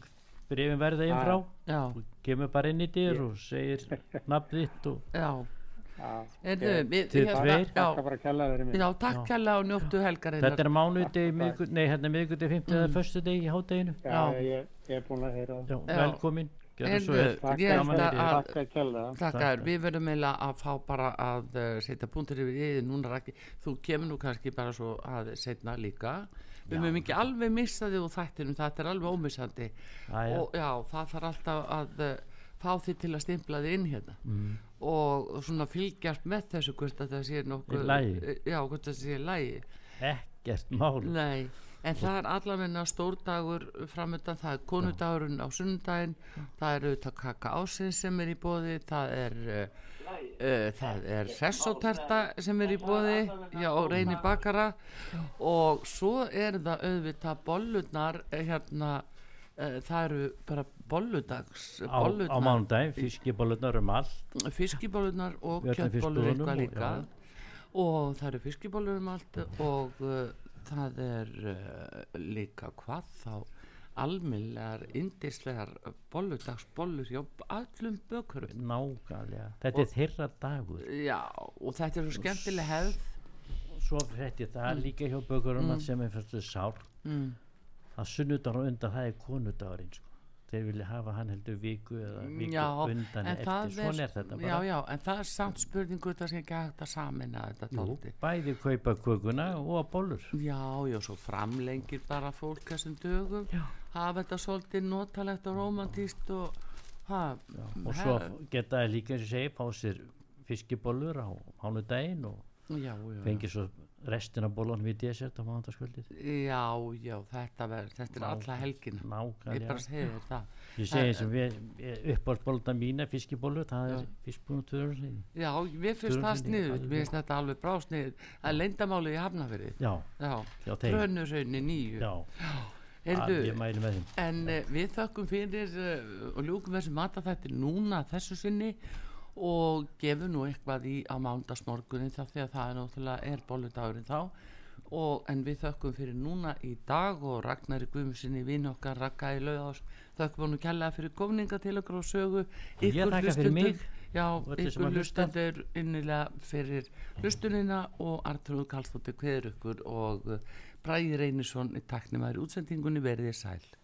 Speaker 2: brefin verða einn
Speaker 4: Já.
Speaker 2: frá.
Speaker 1: Já,
Speaker 2: Þú kemur bara inn í dyr og
Speaker 4: (laughs)
Speaker 2: segir nafn þitt og
Speaker 1: já (laughs)
Speaker 4: Já,
Speaker 1: Herðu,
Speaker 4: Ég-
Speaker 1: við,
Speaker 2: Þið
Speaker 1: hérna-
Speaker 2: tveir.
Speaker 4: Takk
Speaker 1: já,
Speaker 4: bara að kella þeirri mig.
Speaker 1: já, takk hérlega og njóttu helgarinnar
Speaker 2: þetta er mánudegi, miðgud, nei hérna miðgudegi, 50 eða
Speaker 1: Mm.
Speaker 2: föstudegi í hátteginu.
Speaker 4: Já,
Speaker 1: Já.
Speaker 4: ég, ég er búin að heyra það.
Speaker 2: Já,
Speaker 1: Já.
Speaker 2: velkomin. Gjörðu svo
Speaker 1: Heyrðu,
Speaker 2: vel.
Speaker 1: Ég held
Speaker 4: Takk
Speaker 1: að-
Speaker 4: að takk að kella það.
Speaker 1: Takk
Speaker 2: Takk.
Speaker 1: að við verðum eiginlega að fá bara að uh, setja punktur yfir yfir núna rækki þú kemur nú kannski bara svo að setna líka við mögum ekki alveg missa þig úr þættinum þetta er alveg ómissandi
Speaker 2: Jæja.
Speaker 1: og já, það þarf alltaf að uh, fá þig til að stimpla þig inn hérna
Speaker 2: Mm.
Speaker 1: og svona fylgjast með þessu hvort að það sé
Speaker 2: Í
Speaker 1: nokkuð
Speaker 2: lagi.
Speaker 1: já, hvort það sé í lægi
Speaker 2: Ekkert mál.
Speaker 1: Nei, en það er allavegna stórdagur framöndan, það er konudagurinn á sunnudaginn, það er auðvitað kaka ásins sem er í bóði, það er, uh, uh, það er hressóterta sem er í bóði, já, og reyni bakara og svo er það auðvitað bollunar, hérna, uh, það eru bara bolludags,
Speaker 2: Á, á
Speaker 1: bollunar,
Speaker 2: mánudagi, fiskibólurnar um allt.
Speaker 1: fiskibóllunar og
Speaker 2: Við ætlum
Speaker 1: kjöttbólur
Speaker 2: fiskbúðunum
Speaker 1: eitthvað
Speaker 2: og-
Speaker 1: líka
Speaker 2: já.
Speaker 1: og það eru fiskibólur um allt og uh, það er uh, líka hvað þá almillegar, indislegar bolludagsbollur hjá allum bökurum
Speaker 2: Nákvæmlega. Þetta er þeirra dagur.
Speaker 1: já og þetta er svo skemmtileg hefð
Speaker 2: Svo frétti ég það líka hjá bökurum að sem er fyrstu sár.
Speaker 1: mm.
Speaker 2: Að sunnudagur og undan það er konudagurinn sko. Þeir vilja hafa hann heldur viku eða viku
Speaker 1: Mm, já, en
Speaker 2: undan eftir.
Speaker 1: það er,
Speaker 2: Svona er þetta bara.
Speaker 1: já, já, en það er samt spurningu það sé ekki hægt að samina þetta
Speaker 2: Jú,
Speaker 1: tólti
Speaker 2: bæði kaupa kökuna og bólur.
Speaker 1: Já, já, svo framlengir bara fólk þessum dögum,
Speaker 2: Já.
Speaker 1: hafa þetta svolítið notalegt og romantíst og ha,
Speaker 2: Og svo geta það líka eins og segi, fá sér fiskibólur á mánudaginn og
Speaker 1: já, já,
Speaker 2: fengi svo restina bólunum í desert á mánudagskvöldið.
Speaker 1: já, já, þetta, ver, þetta er
Speaker 2: Vá.
Speaker 1: alla helgina, ég
Speaker 2: Nákvæmlega.
Speaker 1: bara segi þér það.
Speaker 2: Ég segi eins og eh, við uppáhaldsbólta mína fiskibólur, það er
Speaker 1: Já.
Speaker 2: fiskbúinu tvöðursniði.
Speaker 1: Já, mér finnst
Speaker 2: Þurfum
Speaker 1: það
Speaker 2: þetta
Speaker 1: sniður,
Speaker 2: alveg.
Speaker 1: mér finnst þetta alveg brásniður, að leindamálið í hafnafyrði,
Speaker 2: Já,
Speaker 1: já,
Speaker 2: já, þeir.
Speaker 1: trönurraunni nýju.
Speaker 2: Já,
Speaker 1: Heyrðu,
Speaker 2: Að ég mæli með þeim
Speaker 1: En uh, við þökkum fyrir uh, og ljúkum þessu mataþætti núna þessu sinni og gefum nú eitthvað í á mándagsmorgunin þá því að það er náttúrulega er bolludagurinn þá og, en við þökkum fyrir núna í dag og Ragnar í Guðmusinni vinn okkar Ragga í lauðás þökkum hann og kjallaði fyrir komninga til okkur og sögu
Speaker 2: Ég þakka fyrir
Speaker 1: hlustendur-
Speaker 2: mig
Speaker 1: já,
Speaker 2: og öllu sem
Speaker 1: ykkur
Speaker 2: að hlusta.
Speaker 1: hlustendur innilega fyrir hlustunina og Artur eh, Kallstóttir kveður ykkur og uh, Bræði Reynisson í taknum að er útsendingunni verðið sæl